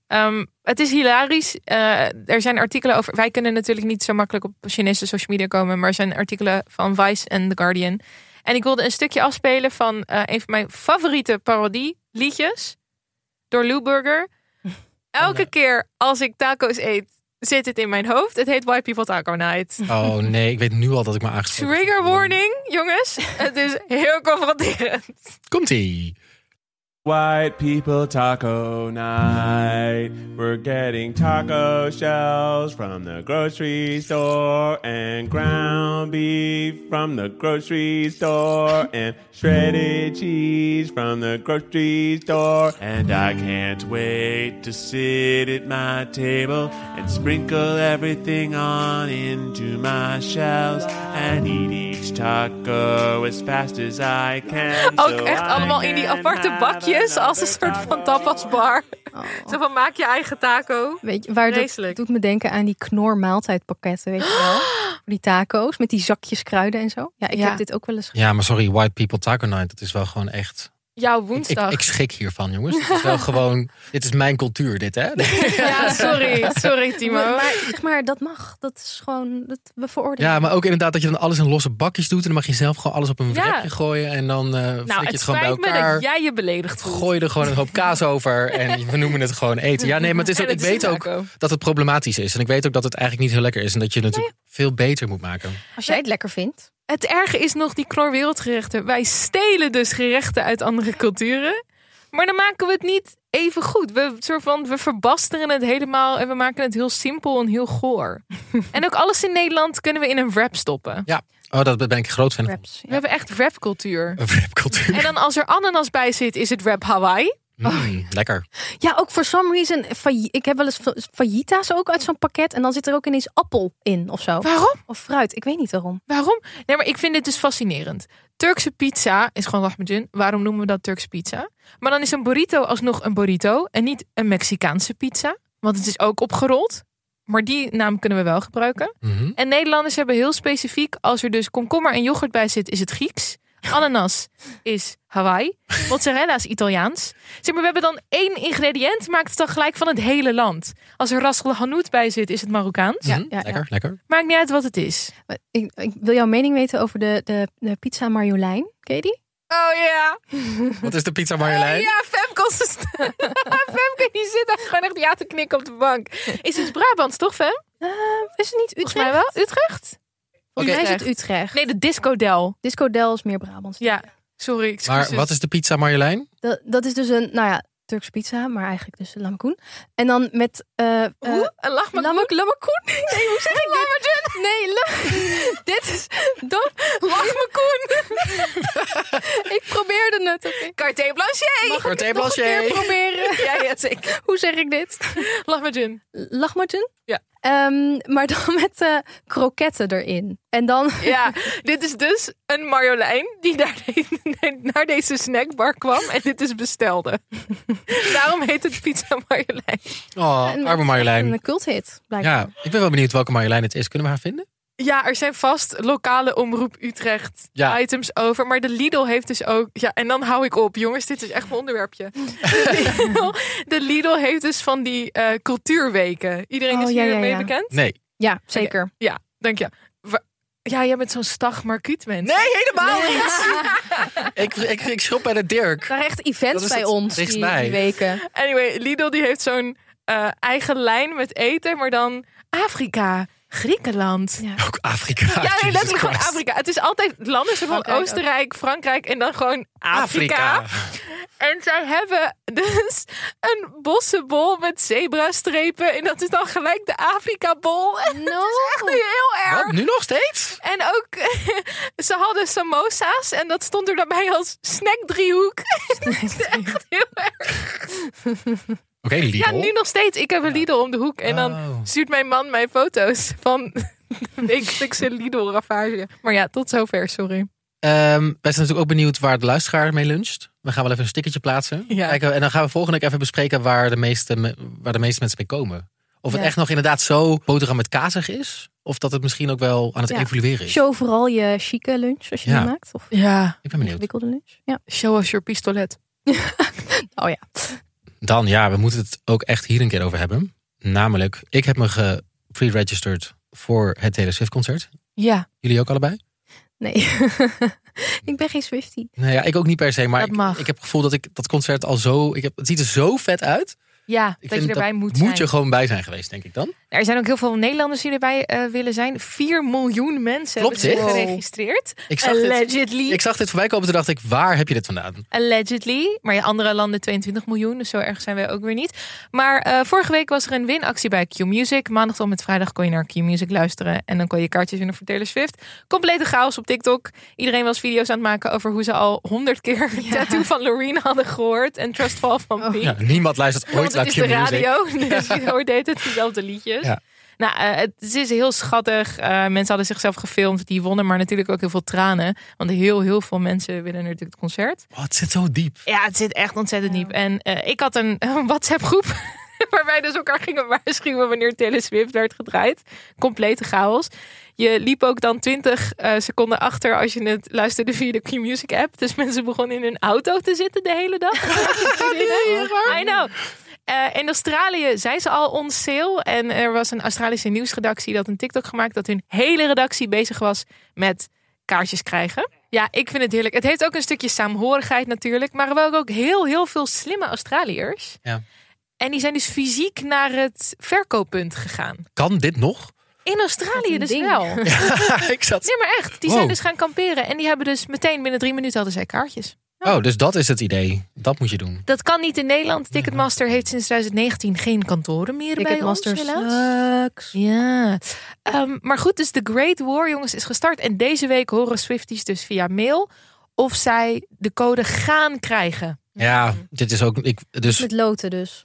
S5: Ehm, het is hilarisch. Eh, er zijn artikelen over. Wij kunnen natuurlijk niet zo makkelijk op Chinese social media komen. Maar er zijn artikelen van Vice en The Guardian. En ik wilde een stukje afspelen van eh, een van mijn favoriete parodie liedjes. Door Lou Burger. Elke keer als ik tacos eet, zit het in mijn hoofd. Het heet White People Taco Night.
S3: Oh nee, ik weet nu al dat ik me aangesproken
S5: Trigger warning, jongens. Het is heel confronterend.
S3: Komt ie.
S12: White people taco night. We're getting taco shells from the grocery store and ground beef from the grocery store and shredded cheese from the grocery store. And I can't wait to sit at my table and sprinkle everything on into my shells and eat each taco as fast as I can.
S13: Oh,
S5: Ook
S12: so
S5: echt
S12: I
S5: allemaal in die aparte
S3: nou,
S5: bakjes als een soort van tapasbar. Zo van maak je eigen taco.
S7: Weet je, waar dat
S5: Vreselijk.
S7: doet me denken aan die knor maaltijdpakketten, weet je wel? die taco's met die zakjes kruiden en zo. Ja, ik
S5: Ja.
S7: heb dit ook wel eens
S3: Ja, maar sorry, white people taco night. Dat is wel gewoon echt
S5: Jouw
S3: Ik,
S5: woensdag.
S3: ik schrik hiervan, jongens. Het is wel gewoon... Dit is mijn cultuur, dit, hè?
S5: Ja, sorry. Sorry,
S7: Maar,
S5: Timo.
S7: maar zeg maar, dat mag. Dat is gewoon, dat, we veroordelen.
S3: Ja, maar ook inderdaad dat je dan alles in losse bakjes doet... en dan mag je zelf gewoon alles op een
S7: Ja.
S3: wrapje gooien... en dan eh flik
S5: Nou,
S3: je
S5: het,
S3: het gewoon bij
S5: spijt me
S3: elkaar.
S5: dat jij je beledigd voelt.
S3: gooi er gewoon een hoop kaas over en we noemen het gewoon eten. Ja, nee, maar het is
S5: En
S3: ook, ik
S5: het is
S3: weet
S5: een
S3: ook
S5: taco.
S3: dat het problematisch is. En ik weet ook dat het eigenlijk niet heel lekker is. En dat je het natuurlijk veel beter moet maken.
S7: Als jij het lekker vindt.
S5: Het erge is nog die kloorwereldgerechten. Wij stelen dus gerechten uit andere culturen. Maar dan maken we het niet even goed. We, soort van, we verbasteren het helemaal en we maken het heel simpel en heel goor. en ook alles in Nederland kunnen we in een wrap stoppen.
S3: Ja, oh, dat ben ik een groot fan van.
S5: We hebben echt wrapcultuur.
S3: Een wrapcultuur.
S5: En dan als er ananas bij zit, is het wrap Hawaii.
S3: Mm, lekker.
S7: Ja, ook for some reason. failli- ik heb wel eens fa- fajitas ook uit zo'n pakket. En dan zit er ook ineens appel in of zo.
S5: Waarom?
S7: Of fruit. Ik weet niet waarom.
S5: Waarom? Nee, maar ik vind dit dus fascinerend. Turkse pizza is gewoon rahmedun. Waarom noemen we dat Turkse pizza? Maar dan is een burrito alsnog een burrito en niet een Mexicaanse pizza. Want het is ook opgerold. Maar die naam kunnen we wel gebruiken. En Nederlanders hebben heel specifiek, als er dus komkommer en yoghurt bij zit, is het Grieks. Ananas is Hawaii. Mozzarella is Italiaans. Zeg maar, we hebben dan één ingrediënt, maakt het dan gelijk van het hele land. Als er ras el hanout bij zit, is het Marokkaans.
S7: Ja, ja,
S3: Hm, Lekker, lekker.
S5: Maakt niet uit wat het is.
S7: Maar Ik, ik wil jouw mening weten over de, de, de pizza Marjolein. Ken je die?
S5: Oh ja.
S3: Wat is de pizza Marjolein?
S5: Oh, Ja, Femke, onze st- Femke die zit daar gewoon echt ja te knikken op de bank. Is het Brabants toch, Fem?
S7: Eh, is het niet Utrecht?
S5: Volgens mij wel. Utrecht?
S7: Volgens mij is het Utrecht.
S5: Nee, de Disco Del.
S7: Disco Del is meer Brabants.
S5: Ja, sorry. Excuses.
S3: Maar wat is de pizza Marjolein?
S7: Dat, dat is dus een, nou ja, Turks pizza, maar eigenlijk dus lammekoen. En dan met... eh eh,
S5: Een lachmakoen?
S7: lammek- lammekoen? Nee, hoe zeg ik dit? Nee, la- dit is... Dat,
S5: Lachmakoen!
S7: ik probeerde het. oké.
S5: Cartier Blanchet!
S7: Mag ik
S3: Carte
S7: het nog een
S3: blanche.
S7: keer proberen?
S5: Ja, ja, zeker.
S7: Hoe zeg ik dit?
S5: Lachmakoen.
S7: Lachmatjen?
S5: Ja.
S7: Ehm, maar dan met eh kroketten erin. En dan...
S5: Ja, dit is dus een Marjolein die daar naar deze snackbar kwam en dit is bestelde. Daarom heet het Pizza Marjolein.
S3: Oh, arme Marjolein.
S7: Een culthit, blijkbaar.
S3: Ja, ik ben wel benieuwd welke Marjolein het is. Kunnen we haar vinden?
S5: Ja, er zijn vast lokale omroep Utrecht
S3: Ja.
S5: items over. Maar de Lidl heeft dus ook. Ja, en dan hou ik op. Jongens, dit is echt mijn onderwerpje. De Lidl, de Lidl heeft dus van die eh, cultuurweken. Iedereen
S7: Oh,
S5: is
S7: ja,
S5: hier
S7: ja,
S5: mee
S7: ja.
S5: bekend?
S3: Nee.
S7: Ja, zeker.
S5: Ja, dank je. Wa- Ja, jij bent zo'n stag markietmens.
S3: Nee, helemaal niet. ik, ik, ik schrok bij de Dirk.
S7: Daar echt events
S3: Dat is
S7: bij
S3: het
S7: ons die,
S3: dichtstbij.
S7: die weken.
S5: Anyway, Lidl die heeft zo'n eh, eigen lijn met eten. Maar dan Afrika, Griekenland.
S7: Ja.
S3: Ook Afrika.
S5: Ja, nee,
S3: Jesus
S5: letterlijk gewoon
S3: Christ.
S5: Afrika. Het is altijd landen zo van
S7: Frankrijk ook.
S5: Oostenrijk, Frankrijk en dan gewoon Afrika.
S3: Afrika.
S5: En zij hebben dus een bossenbol met zebrastrepen. En dat is dan gelijk de Afrika-bol. En
S7: No.
S5: dat is echt heel erg.
S3: Wat, Oh, nu nog steeds?
S5: En ook, ze hadden samosa's en dat stond er daarbij als snackdriehoek. dat is echt heel erg.
S3: Oké, Lidl.
S5: Ja, nu nog steeds. Ik heb een Lidl om de hoek. En
S3: Oh.
S5: dan stuurt mijn man mij foto's van de wekelijkse Lidl-ravage. Maar ja, tot zover, sorry.
S3: Ehm, wij zijn natuurlijk ook benieuwd waar de luisteraar mee luncht. We gaan wel even een stickertje plaatsen.
S5: Ja.
S3: Kijken, en dan gaan we volgende keer even bespreken waar de meeste, me- waar de meeste mensen mee komen. Of het
S7: Ja.
S3: echt nog inderdaad zo boterham met kazig is. Of dat het misschien ook wel aan het
S7: Ja.
S3: evolueren is.
S7: Show vooral je chique lunch als je
S3: Ja.
S7: die maakt. Of
S5: Ja,
S3: Ik ben benieuwd.
S7: ingewikkelde lunch. Ja.
S5: show us your pistolet.
S7: Oh ja.
S3: Dan, ja, we moeten het ook echt hier een keer over hebben. Namelijk, ik heb me gepre-registered voor het Taylor Swift concert.
S5: Ja,
S3: Jullie ook allebei?
S7: Nee. ik ben geen Swiftie.
S3: Nou ja, ik ook niet per se. Maar
S5: Dat mag.
S3: Ik, ik heb het gevoel dat ik dat concert al zo... Ik heb, het ziet er zo vet uit.
S5: ja
S3: Ik
S5: dat je erbij moet,
S3: Moet
S5: zijn.
S3: je gewoon bij zijn geweest, denk ik dan.
S5: Er zijn ook heel veel Nederlanders die erbij eh, willen zijn. 4 miljoen mensen
S3: Klopt
S5: hebben
S3: dit?
S5: zich geregistreerd.
S3: Ik zag dit.
S5: Allegedly.
S3: Ik zag dit voorbij komen, toen dacht ik, waar heb je dit vandaan?
S5: Allegedly. Maar ja, andere landen 22 miljoen, dus zo erg zijn wij ook weer niet. Maar eh, vorige week was er een winactie bij Q-Music. Maandag tot met vrijdag kon je naar Q-Music luisteren. En dan kon je kaartjes winnen voor Taylor Swift. Complete chaos op TikTok. Iedereen was video's aan het maken over hoe ze al honderd keer Tattoo van Loreen hadden gehoord. En Trust Fall van Pink.
S3: Ja, niemand luistert ooit
S5: Want
S3: naar
S5: het is de
S3: Q-Music.
S5: radio, dus je hoort de hele tijd dezelfde liedjes.
S3: Ja.
S5: Nou, eh, het het is heel schattig. Eh, mensen hadden zichzelf gefilmd, die wonnen, maar natuurlijk ook heel veel tranen. Want heel, heel veel mensen willen natuurlijk het concert.
S3: Oh, het zit zo diep.
S5: Ja, het zit echt ontzettend diep. En eh, ik had een, een WhatsApp-groep waarbij dus elkaar gingen waarschuwen wanneer Taylor Swift werd gedraaid. Complete chaos. Je liep ook dan 20 eh, seconden achter als je het luisterde via de Q-Music app. Dus mensen begonnen in hun auto te zitten de hele dag. I know. Eh, in Australië zijn ze al on sale. En er was een Australische nieuwsredactie dat een TikTok gemaakt dat hun hele redactie bezig was met kaartjes krijgen. Ja, ik vind het heerlijk. Het heeft ook een stukje saamhorigheid natuurlijk. Maar wel ook heel, heel veel slimme Australiërs.
S3: Ja.
S5: En die zijn dus fysiek naar het verkooppunt gegaan.
S3: Kan dit nog?
S5: In Australië dus wel.
S3: ik zat...
S5: Nee, maar echt. Die
S3: Wow.
S5: zijn dus gaan kamperen. En die hebben dus meteen binnen drie minuten hadden zij kaartjes.
S3: Oh, dus dat is het idee. Dat moet je doen.
S5: Dat kan niet in Nederland. Ticketmaster heeft sinds 2019 geen kantoren meer
S7: Ticketmaster
S5: bij ons, helaas. Ja. Ehm, maar goed, dus The Great War, jongens, is gestart. En deze week horen Swifties dus via mail of zij de code gaan krijgen.
S3: Ja, dit is ook. Ik, dus
S5: loten dus.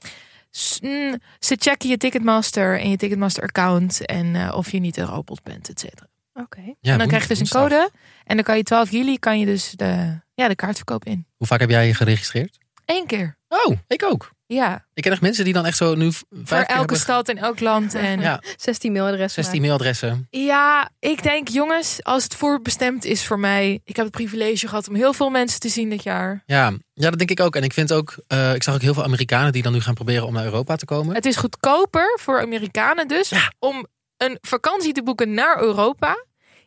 S5: mm, ze checken je Ticketmaster en je Ticketmaster-account en eh, of je niet een robot bent, et cetera.
S7: Oké.
S5: en dan krijg je dus een code en dan kan je 12 juli kan je dus de, ja, de kaartverkoop in.
S3: Hoe vaak heb jij je geregistreerd?
S5: Eén keer.
S3: Oh, ik ook.
S5: Ja,
S3: Ik ken echt mensen die dan echt zo nu v- vijf
S5: voor
S3: keer
S5: elke
S3: hebben
S5: stad en elk land. En...
S3: Ja.
S7: 16 mailadressen.
S3: 16 mailadressen.
S5: Ja, ik denk jongens, als het voorbestemd is voor mij. Ik heb het privilege gehad om heel veel mensen te zien dit jaar.
S3: Ja. ja, dat denk ik ook. En ik vind ook, eh, ik zag ook heel veel Amerikanen die dan nu gaan proberen om naar Europa te komen.
S5: Het is goedkoper voor Amerikanen dus om een vakantie te boeken naar Europa.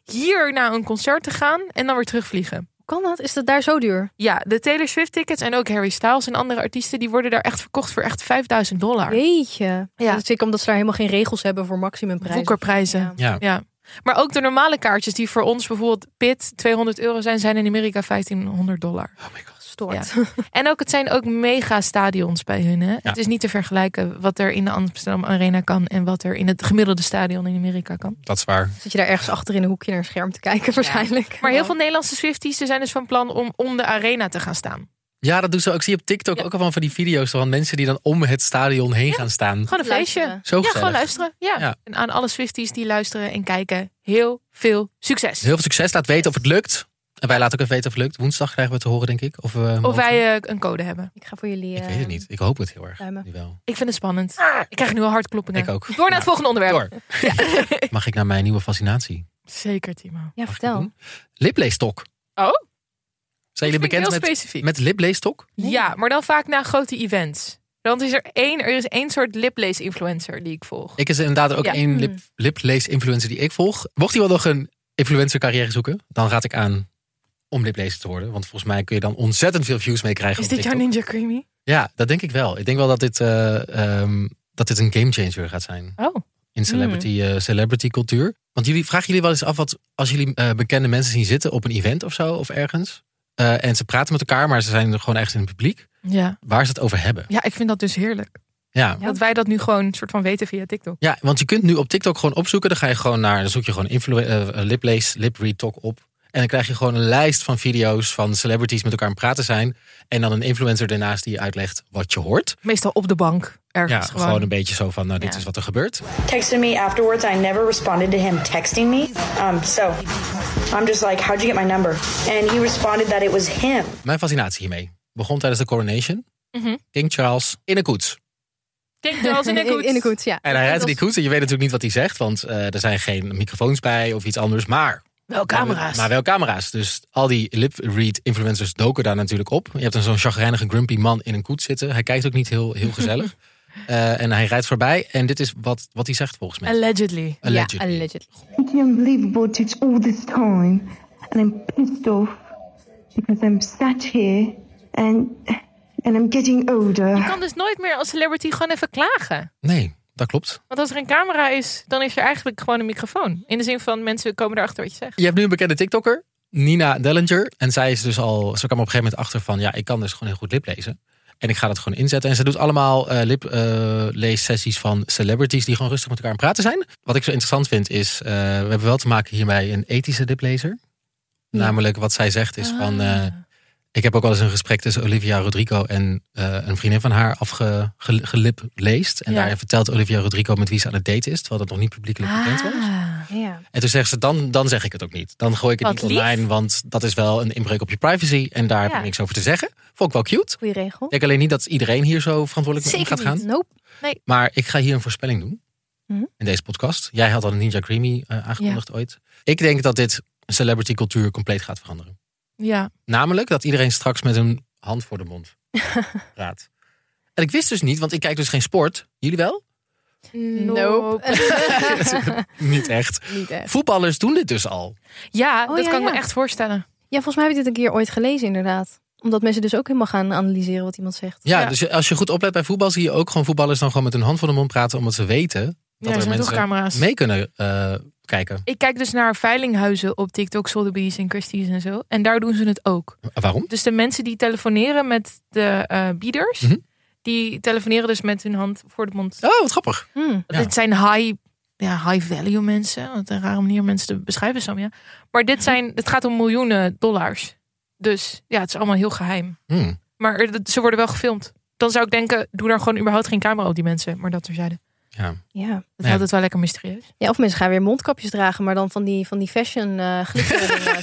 S5: Hier naar een concert te gaan en dan weer terugvliegen.
S7: Kan dat? Is dat daar zo duur?
S5: Ja, de Taylor Swift tickets en ook Harry Styles en andere artiesten... die worden daar echt verkocht voor echt 5000 dollar.
S7: Jeetje. Ja. Dat is zeker omdat ze daar helemaal geen regels hebben voor maximumprijzen.
S5: Woekerprijzen.
S3: Ja.
S5: Ja. Maar ook de normale kaartjes die voor ons bijvoorbeeld PIT 200 euro zijn, zijn in Amerika 1500 dollar. Oh my god,
S7: stoort.
S5: En ook het zijn ook mega stadions bij hun. Hè? Het is niet te vergelijken wat er in de Amsterdam Arena kan en wat er in het gemiddelde stadion in Amerika kan.
S3: Dat is waar.
S7: Zit je daar ergens achter in een hoekje naar een scherm te kijken waarschijnlijk. Oh.
S5: Maar heel veel Nederlandse Swifties er zijn dus van plan om om de arena te gaan staan.
S3: Ja, dat doen ze ook. Ik zie op TikTok ook al van, van die video's van mensen die dan om het stadion heen gaan staan.
S5: Gewoon een feestje.
S3: Zo
S5: ja,
S3: gezellig.
S5: gewoon luisteren. Ja.
S3: Ja.
S5: En aan alle Swifties die luisteren en kijken, heel veel succes.
S3: Heel veel succes. Laat weten of het lukt. En wij laten ook even weten of het lukt. Woensdag krijgen we te horen, denk ik. Of, we
S5: Of
S3: mogen.
S5: wij eh, een code hebben.
S7: Ik ga voor jullie. eh,
S3: Ik weet het niet. Ik hoop het heel erg.
S7: Duimen.
S5: Ik vind het spannend. Ik krijg nu al hartkloppingen.
S3: Ah. Ik ook.
S5: Door naar het volgende onderwerp.
S3: Mag ik naar mijn nieuwe fascinatie?
S5: Zeker, Timo.
S7: Ja, vertel.
S3: Lipleestok.
S5: Oh?
S3: Zijn jullie
S5: vind ik
S3: bekend
S5: heel
S3: met,
S5: specifiek.
S3: met lipleestok?
S5: Ja, maar dan vaak na grote events. Dan is er één, er is één soort liplees-influencer die ik volg.
S3: Ik is inderdaad ook
S5: Ja. Hmm.
S3: één lip, liplees-influencer die ik volg. Mocht hij wel nog een influencer-carrière zoeken, dan raad ik aan om liplezer te worden. Want volgens mij kun je dan ontzettend veel views mee krijgen.
S5: Is
S3: op
S5: dit jouw
S3: TikTok.
S5: Ninja Creamy?
S3: Ja, dat denk ik wel. Ik denk wel dat dit, eh, ehm, dat dit een gamechanger gaat zijn.
S5: Oh.
S3: In celebrity, eh, celebrity cultuur. Want jullie vragen jullie wel eens af wat als jullie eh, bekende mensen zien zitten op een event of zo of ergens. eh, en ze praten met elkaar, maar ze zijn er gewoon echt in het publiek.
S5: Ja.
S3: Waar ze het over hebben.
S5: Ja, ik vind dat dus heerlijk.
S3: Ja.
S5: Dat wij dat nu gewoon soort van weten via TikTok.
S3: Ja, want je kunt nu op TikTok gewoon opzoeken. Dan ga je gewoon naar, dan zoek je gewoon influ- eh, eh, liplees, lipread talk op. En dan krijg je gewoon een lijst van video's van celebrities met elkaar aan het praten zijn. En dan een influencer daarnaast die je uitlegt wat je hoort.
S5: Meestal op de bank.
S3: ja,
S5: Ergens
S3: gewoon. een beetje zo van, nou, dit is wat er gebeurt.
S13: texted me afterwards. I never responded to him texting me. Um, so I'm just like, how'd you get my number? And he responded that it was him.
S3: Mijn fascinatie hiermee begon tijdens de coronation.
S5: Mhm.
S3: King Charles in een koets.
S5: Denk wel eens in een koets.
S7: In de koets, ja.
S3: En hij rijdt in die
S7: Dat-
S3: koets en je weet natuurlijk niet wat hij zegt. Want eh, er zijn geen microfoons bij of iets anders. Maar
S5: Wel camera's.
S3: Maar wel camera's. Dus al die lip-read influencers doken daar natuurlijk op. Je hebt dan zo'n chagrijnige grumpy man in een koets zitten. Hij kijkt ook niet heel, heel gezellig. Eh, en hij rijdt voorbij. En dit is wat, wat hij zegt volgens mij.
S5: Allegedly.
S3: Allegedly.
S5: Ja, allegedly.
S14: I can't believe it takes all this time, and I'm pissed off because I'm sat here and and I'm getting
S5: Je
S14: older.
S5: kan dus nooit meer als celebrity gewoon even klagen.
S3: Nee, dat klopt.
S5: Want als er een camera is, dan is er eigenlijk gewoon een microfoon. In de zin van mensen komen erachter wat je zegt.
S3: Je hebt nu een bekende TikToker, Nina Dellinger. En zij is dus al, ze kwam op een gegeven moment achter van, ja, ik kan dus gewoon heel goed liplezen. En ik ga dat gewoon inzetten. En ze doet allemaal eh lip, eh, leessessies van celebrities die gewoon rustig met elkaar aan het praten zijn. Wat ik zo interessant vind is, eh, we hebben wel te maken hiermee een ethische liplezer. Namelijk wat zij zegt is van, eh, ik heb ook wel eens een gesprek tussen Olivia Rodrigo en eh, een vriendin van haar afgelipleest. En
S5: Ja.
S3: daarin vertelt Olivia Rodrigo met wie ze aan het daten is, terwijl dat nog niet publiekelijk bekend was.
S5: Ah.
S7: Ja.
S3: En toen zegt ze, dan, dan zeg ik het ook niet. Dan gooi ik het
S7: Wat
S3: niet
S7: lief.
S3: online, want dat is wel een inbreuk op je privacy. En daar heb
S7: Ja.
S3: ik niks over te zeggen. Vond ik wel cute.
S7: Goeie regel.
S3: Ik denk alleen niet dat iedereen hier zo verantwoordelijk mee om gaat gaan.
S7: Nope.
S5: Nee.
S3: Maar ik ga hier een voorspelling doen.
S7: Mhm.
S3: In deze podcast. Jij had al een Ninja Creamy eh, aangekondigd ooit. Ik denk dat dit celebrity cultuur compleet gaat veranderen.
S5: Ja.
S3: Namelijk dat iedereen straks met een hand voor de mond praat. En ik wist dus niet, want ik kijk dus geen sport. Jullie wel? Niet echt.
S7: Niet echt.
S3: Voetballers doen dit dus al.
S5: Ja,
S7: Oh,
S5: dat
S7: ja,
S5: kan ik
S7: ja.
S5: me echt voorstellen.
S7: Ja, volgens mij heb ik dit een keer ooit gelezen, inderdaad. Omdat mensen dus ook helemaal gaan analyseren wat iemand zegt.
S3: Ja, dus als je goed oplet bij voetbal, zie je ook gewoon voetballers dan gewoon met hun hand voor de mond praten, omdat ze weten dat
S5: er
S3: er
S5: zijn
S3: mensen
S5: toegcamera's.
S3: mee kunnen eh, kijken.
S5: Ik kijk dus naar veilinghuizen op TikTok, Sotheby's en Christie's en zo. En daar doen ze het ook.
S3: Waarom?
S5: Dus de mensen die telefoneren met de eh, bieders, die telefoneren dus met hun hand voor de mond.
S3: Mhm. Oh, wat grappig.
S5: Dit zijn high, ja, high value mensen. Wat een rare manier om mensen te beschrijven, Sam. Ja. Maar dit zijn, het gaat om miljoenen dollars. Dus ja, het is allemaal heel geheim.
S3: Hmm.
S5: Maar er- dat- ze worden wel gefilmd. Dan zou ik denken, doe daar gewoon überhaupt geen camera op die mensen. Maar dat terzijde.
S3: Ja.
S7: Ja. Dat
S5: Dat houdt het wel lekker mysterieus.
S7: Ja, of mensen gaan weer mondkapjes dragen, maar dan van die, van die fashion eh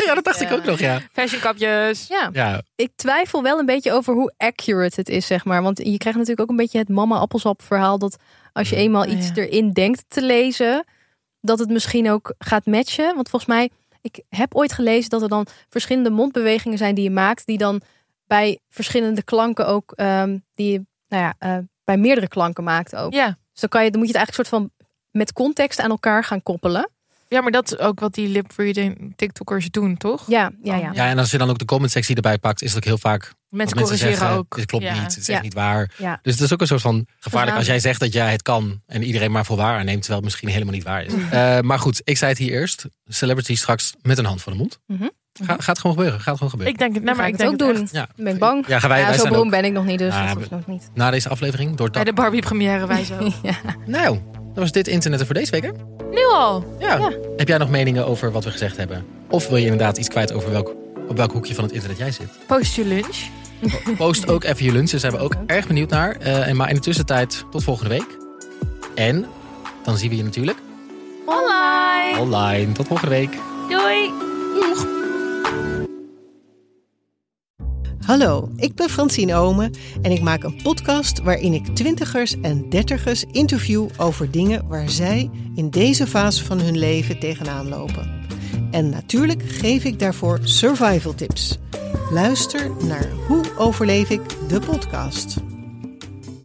S3: Ja, dat dacht ik ook nog, ja.
S5: Fashionkapjes.
S7: Ja.
S3: Ja.
S7: Ik twijfel wel een beetje over hoe accurate het is, zeg maar. Want je krijgt natuurlijk ook een beetje het mama-appelsap verhaal. Dat als
S5: Mm,
S7: je
S5: oh
S7: eenmaal iets erin denkt te lezen, dat het misschien ook gaat matchen. Want volgens mij, ik heb ooit gelezen dat er dan verschillende mondbewegingen zijn die je maakt. Die dan bij verschillende klanken ook, ehm, die je nou ja, eh, bij meerdere klanken maakt ook.
S5: Ja.
S7: Dus dan, kan je, dan moet je het eigenlijk soort van met context aan elkaar gaan koppelen.
S5: Ja, maar dat is ook wat die lip reading TikTokkers doen, toch?
S7: Ja, ja, ja.
S3: Ja, en als je dan ook de commentsectie erbij pakt, is het ook heel vaak. dat
S5: Mensen
S3: mensen
S5: corrigeren
S3: zeggen,
S5: ook.
S3: Dit klopt
S5: Ja.
S3: niet, het is
S5: Ja.
S3: echt niet waar.
S5: Ja.
S3: Dus het is ook een soort van gevaarlijk
S5: Verraden.
S3: als jij zegt dat jij het kan en iedereen maar voor waar aanneemt, terwijl het misschien helemaal niet waar is.
S5: Mm.
S3: Eh, maar goed, ik zei het hier eerst. Celebrity straks met een hand voor de mond.
S7: Mhm.
S3: Ga, gaat gewoon gebeuren. Gaat gewoon gebeuren.
S5: Ik denk het, nee,
S7: Dan
S5: maar
S7: ga
S5: ik
S7: het
S5: denk
S7: ook
S5: het
S7: doen.
S5: echt.
S3: Ja.
S7: Ben ik bang?
S3: Ja, gaan wij-
S7: ja,
S3: wij
S7: zo
S3: zijn
S7: beroemd
S3: ook-
S7: ben ik nog niet, dus
S3: Nou,
S7: dat
S3: we-
S7: hoeft nog niet.
S3: Na deze aflevering door
S5: Bij
S3: dat.
S5: de Barbie-première wij zo.
S3: Nou, dat was dit internet voor deze week. Hè?
S5: Nu al?
S3: Ja. Heb jij nog meningen over wat we gezegd hebben? Of wil je inderdaad iets kwijt over welk, op welk hoekje van het internet jij zit?
S5: Post je lunch.
S3: Post ook even je lunch. Daar zijn we ook erg benieuwd naar. Eh, en maar in de tussentijd tot volgende week. En dan zien we je natuurlijk
S5: Online.
S3: online. Tot volgende week.
S5: Doei.
S3: Doeg.
S15: Hallo, ik ben Francine Omen en ik maak een podcast waarin ik twintigers en dertigers interview over dingen waar zij in deze fase van hun leven tegenaan lopen. En natuurlijk geef ik daarvoor survival tips. Luister naar Hoe overleef ik de podcast.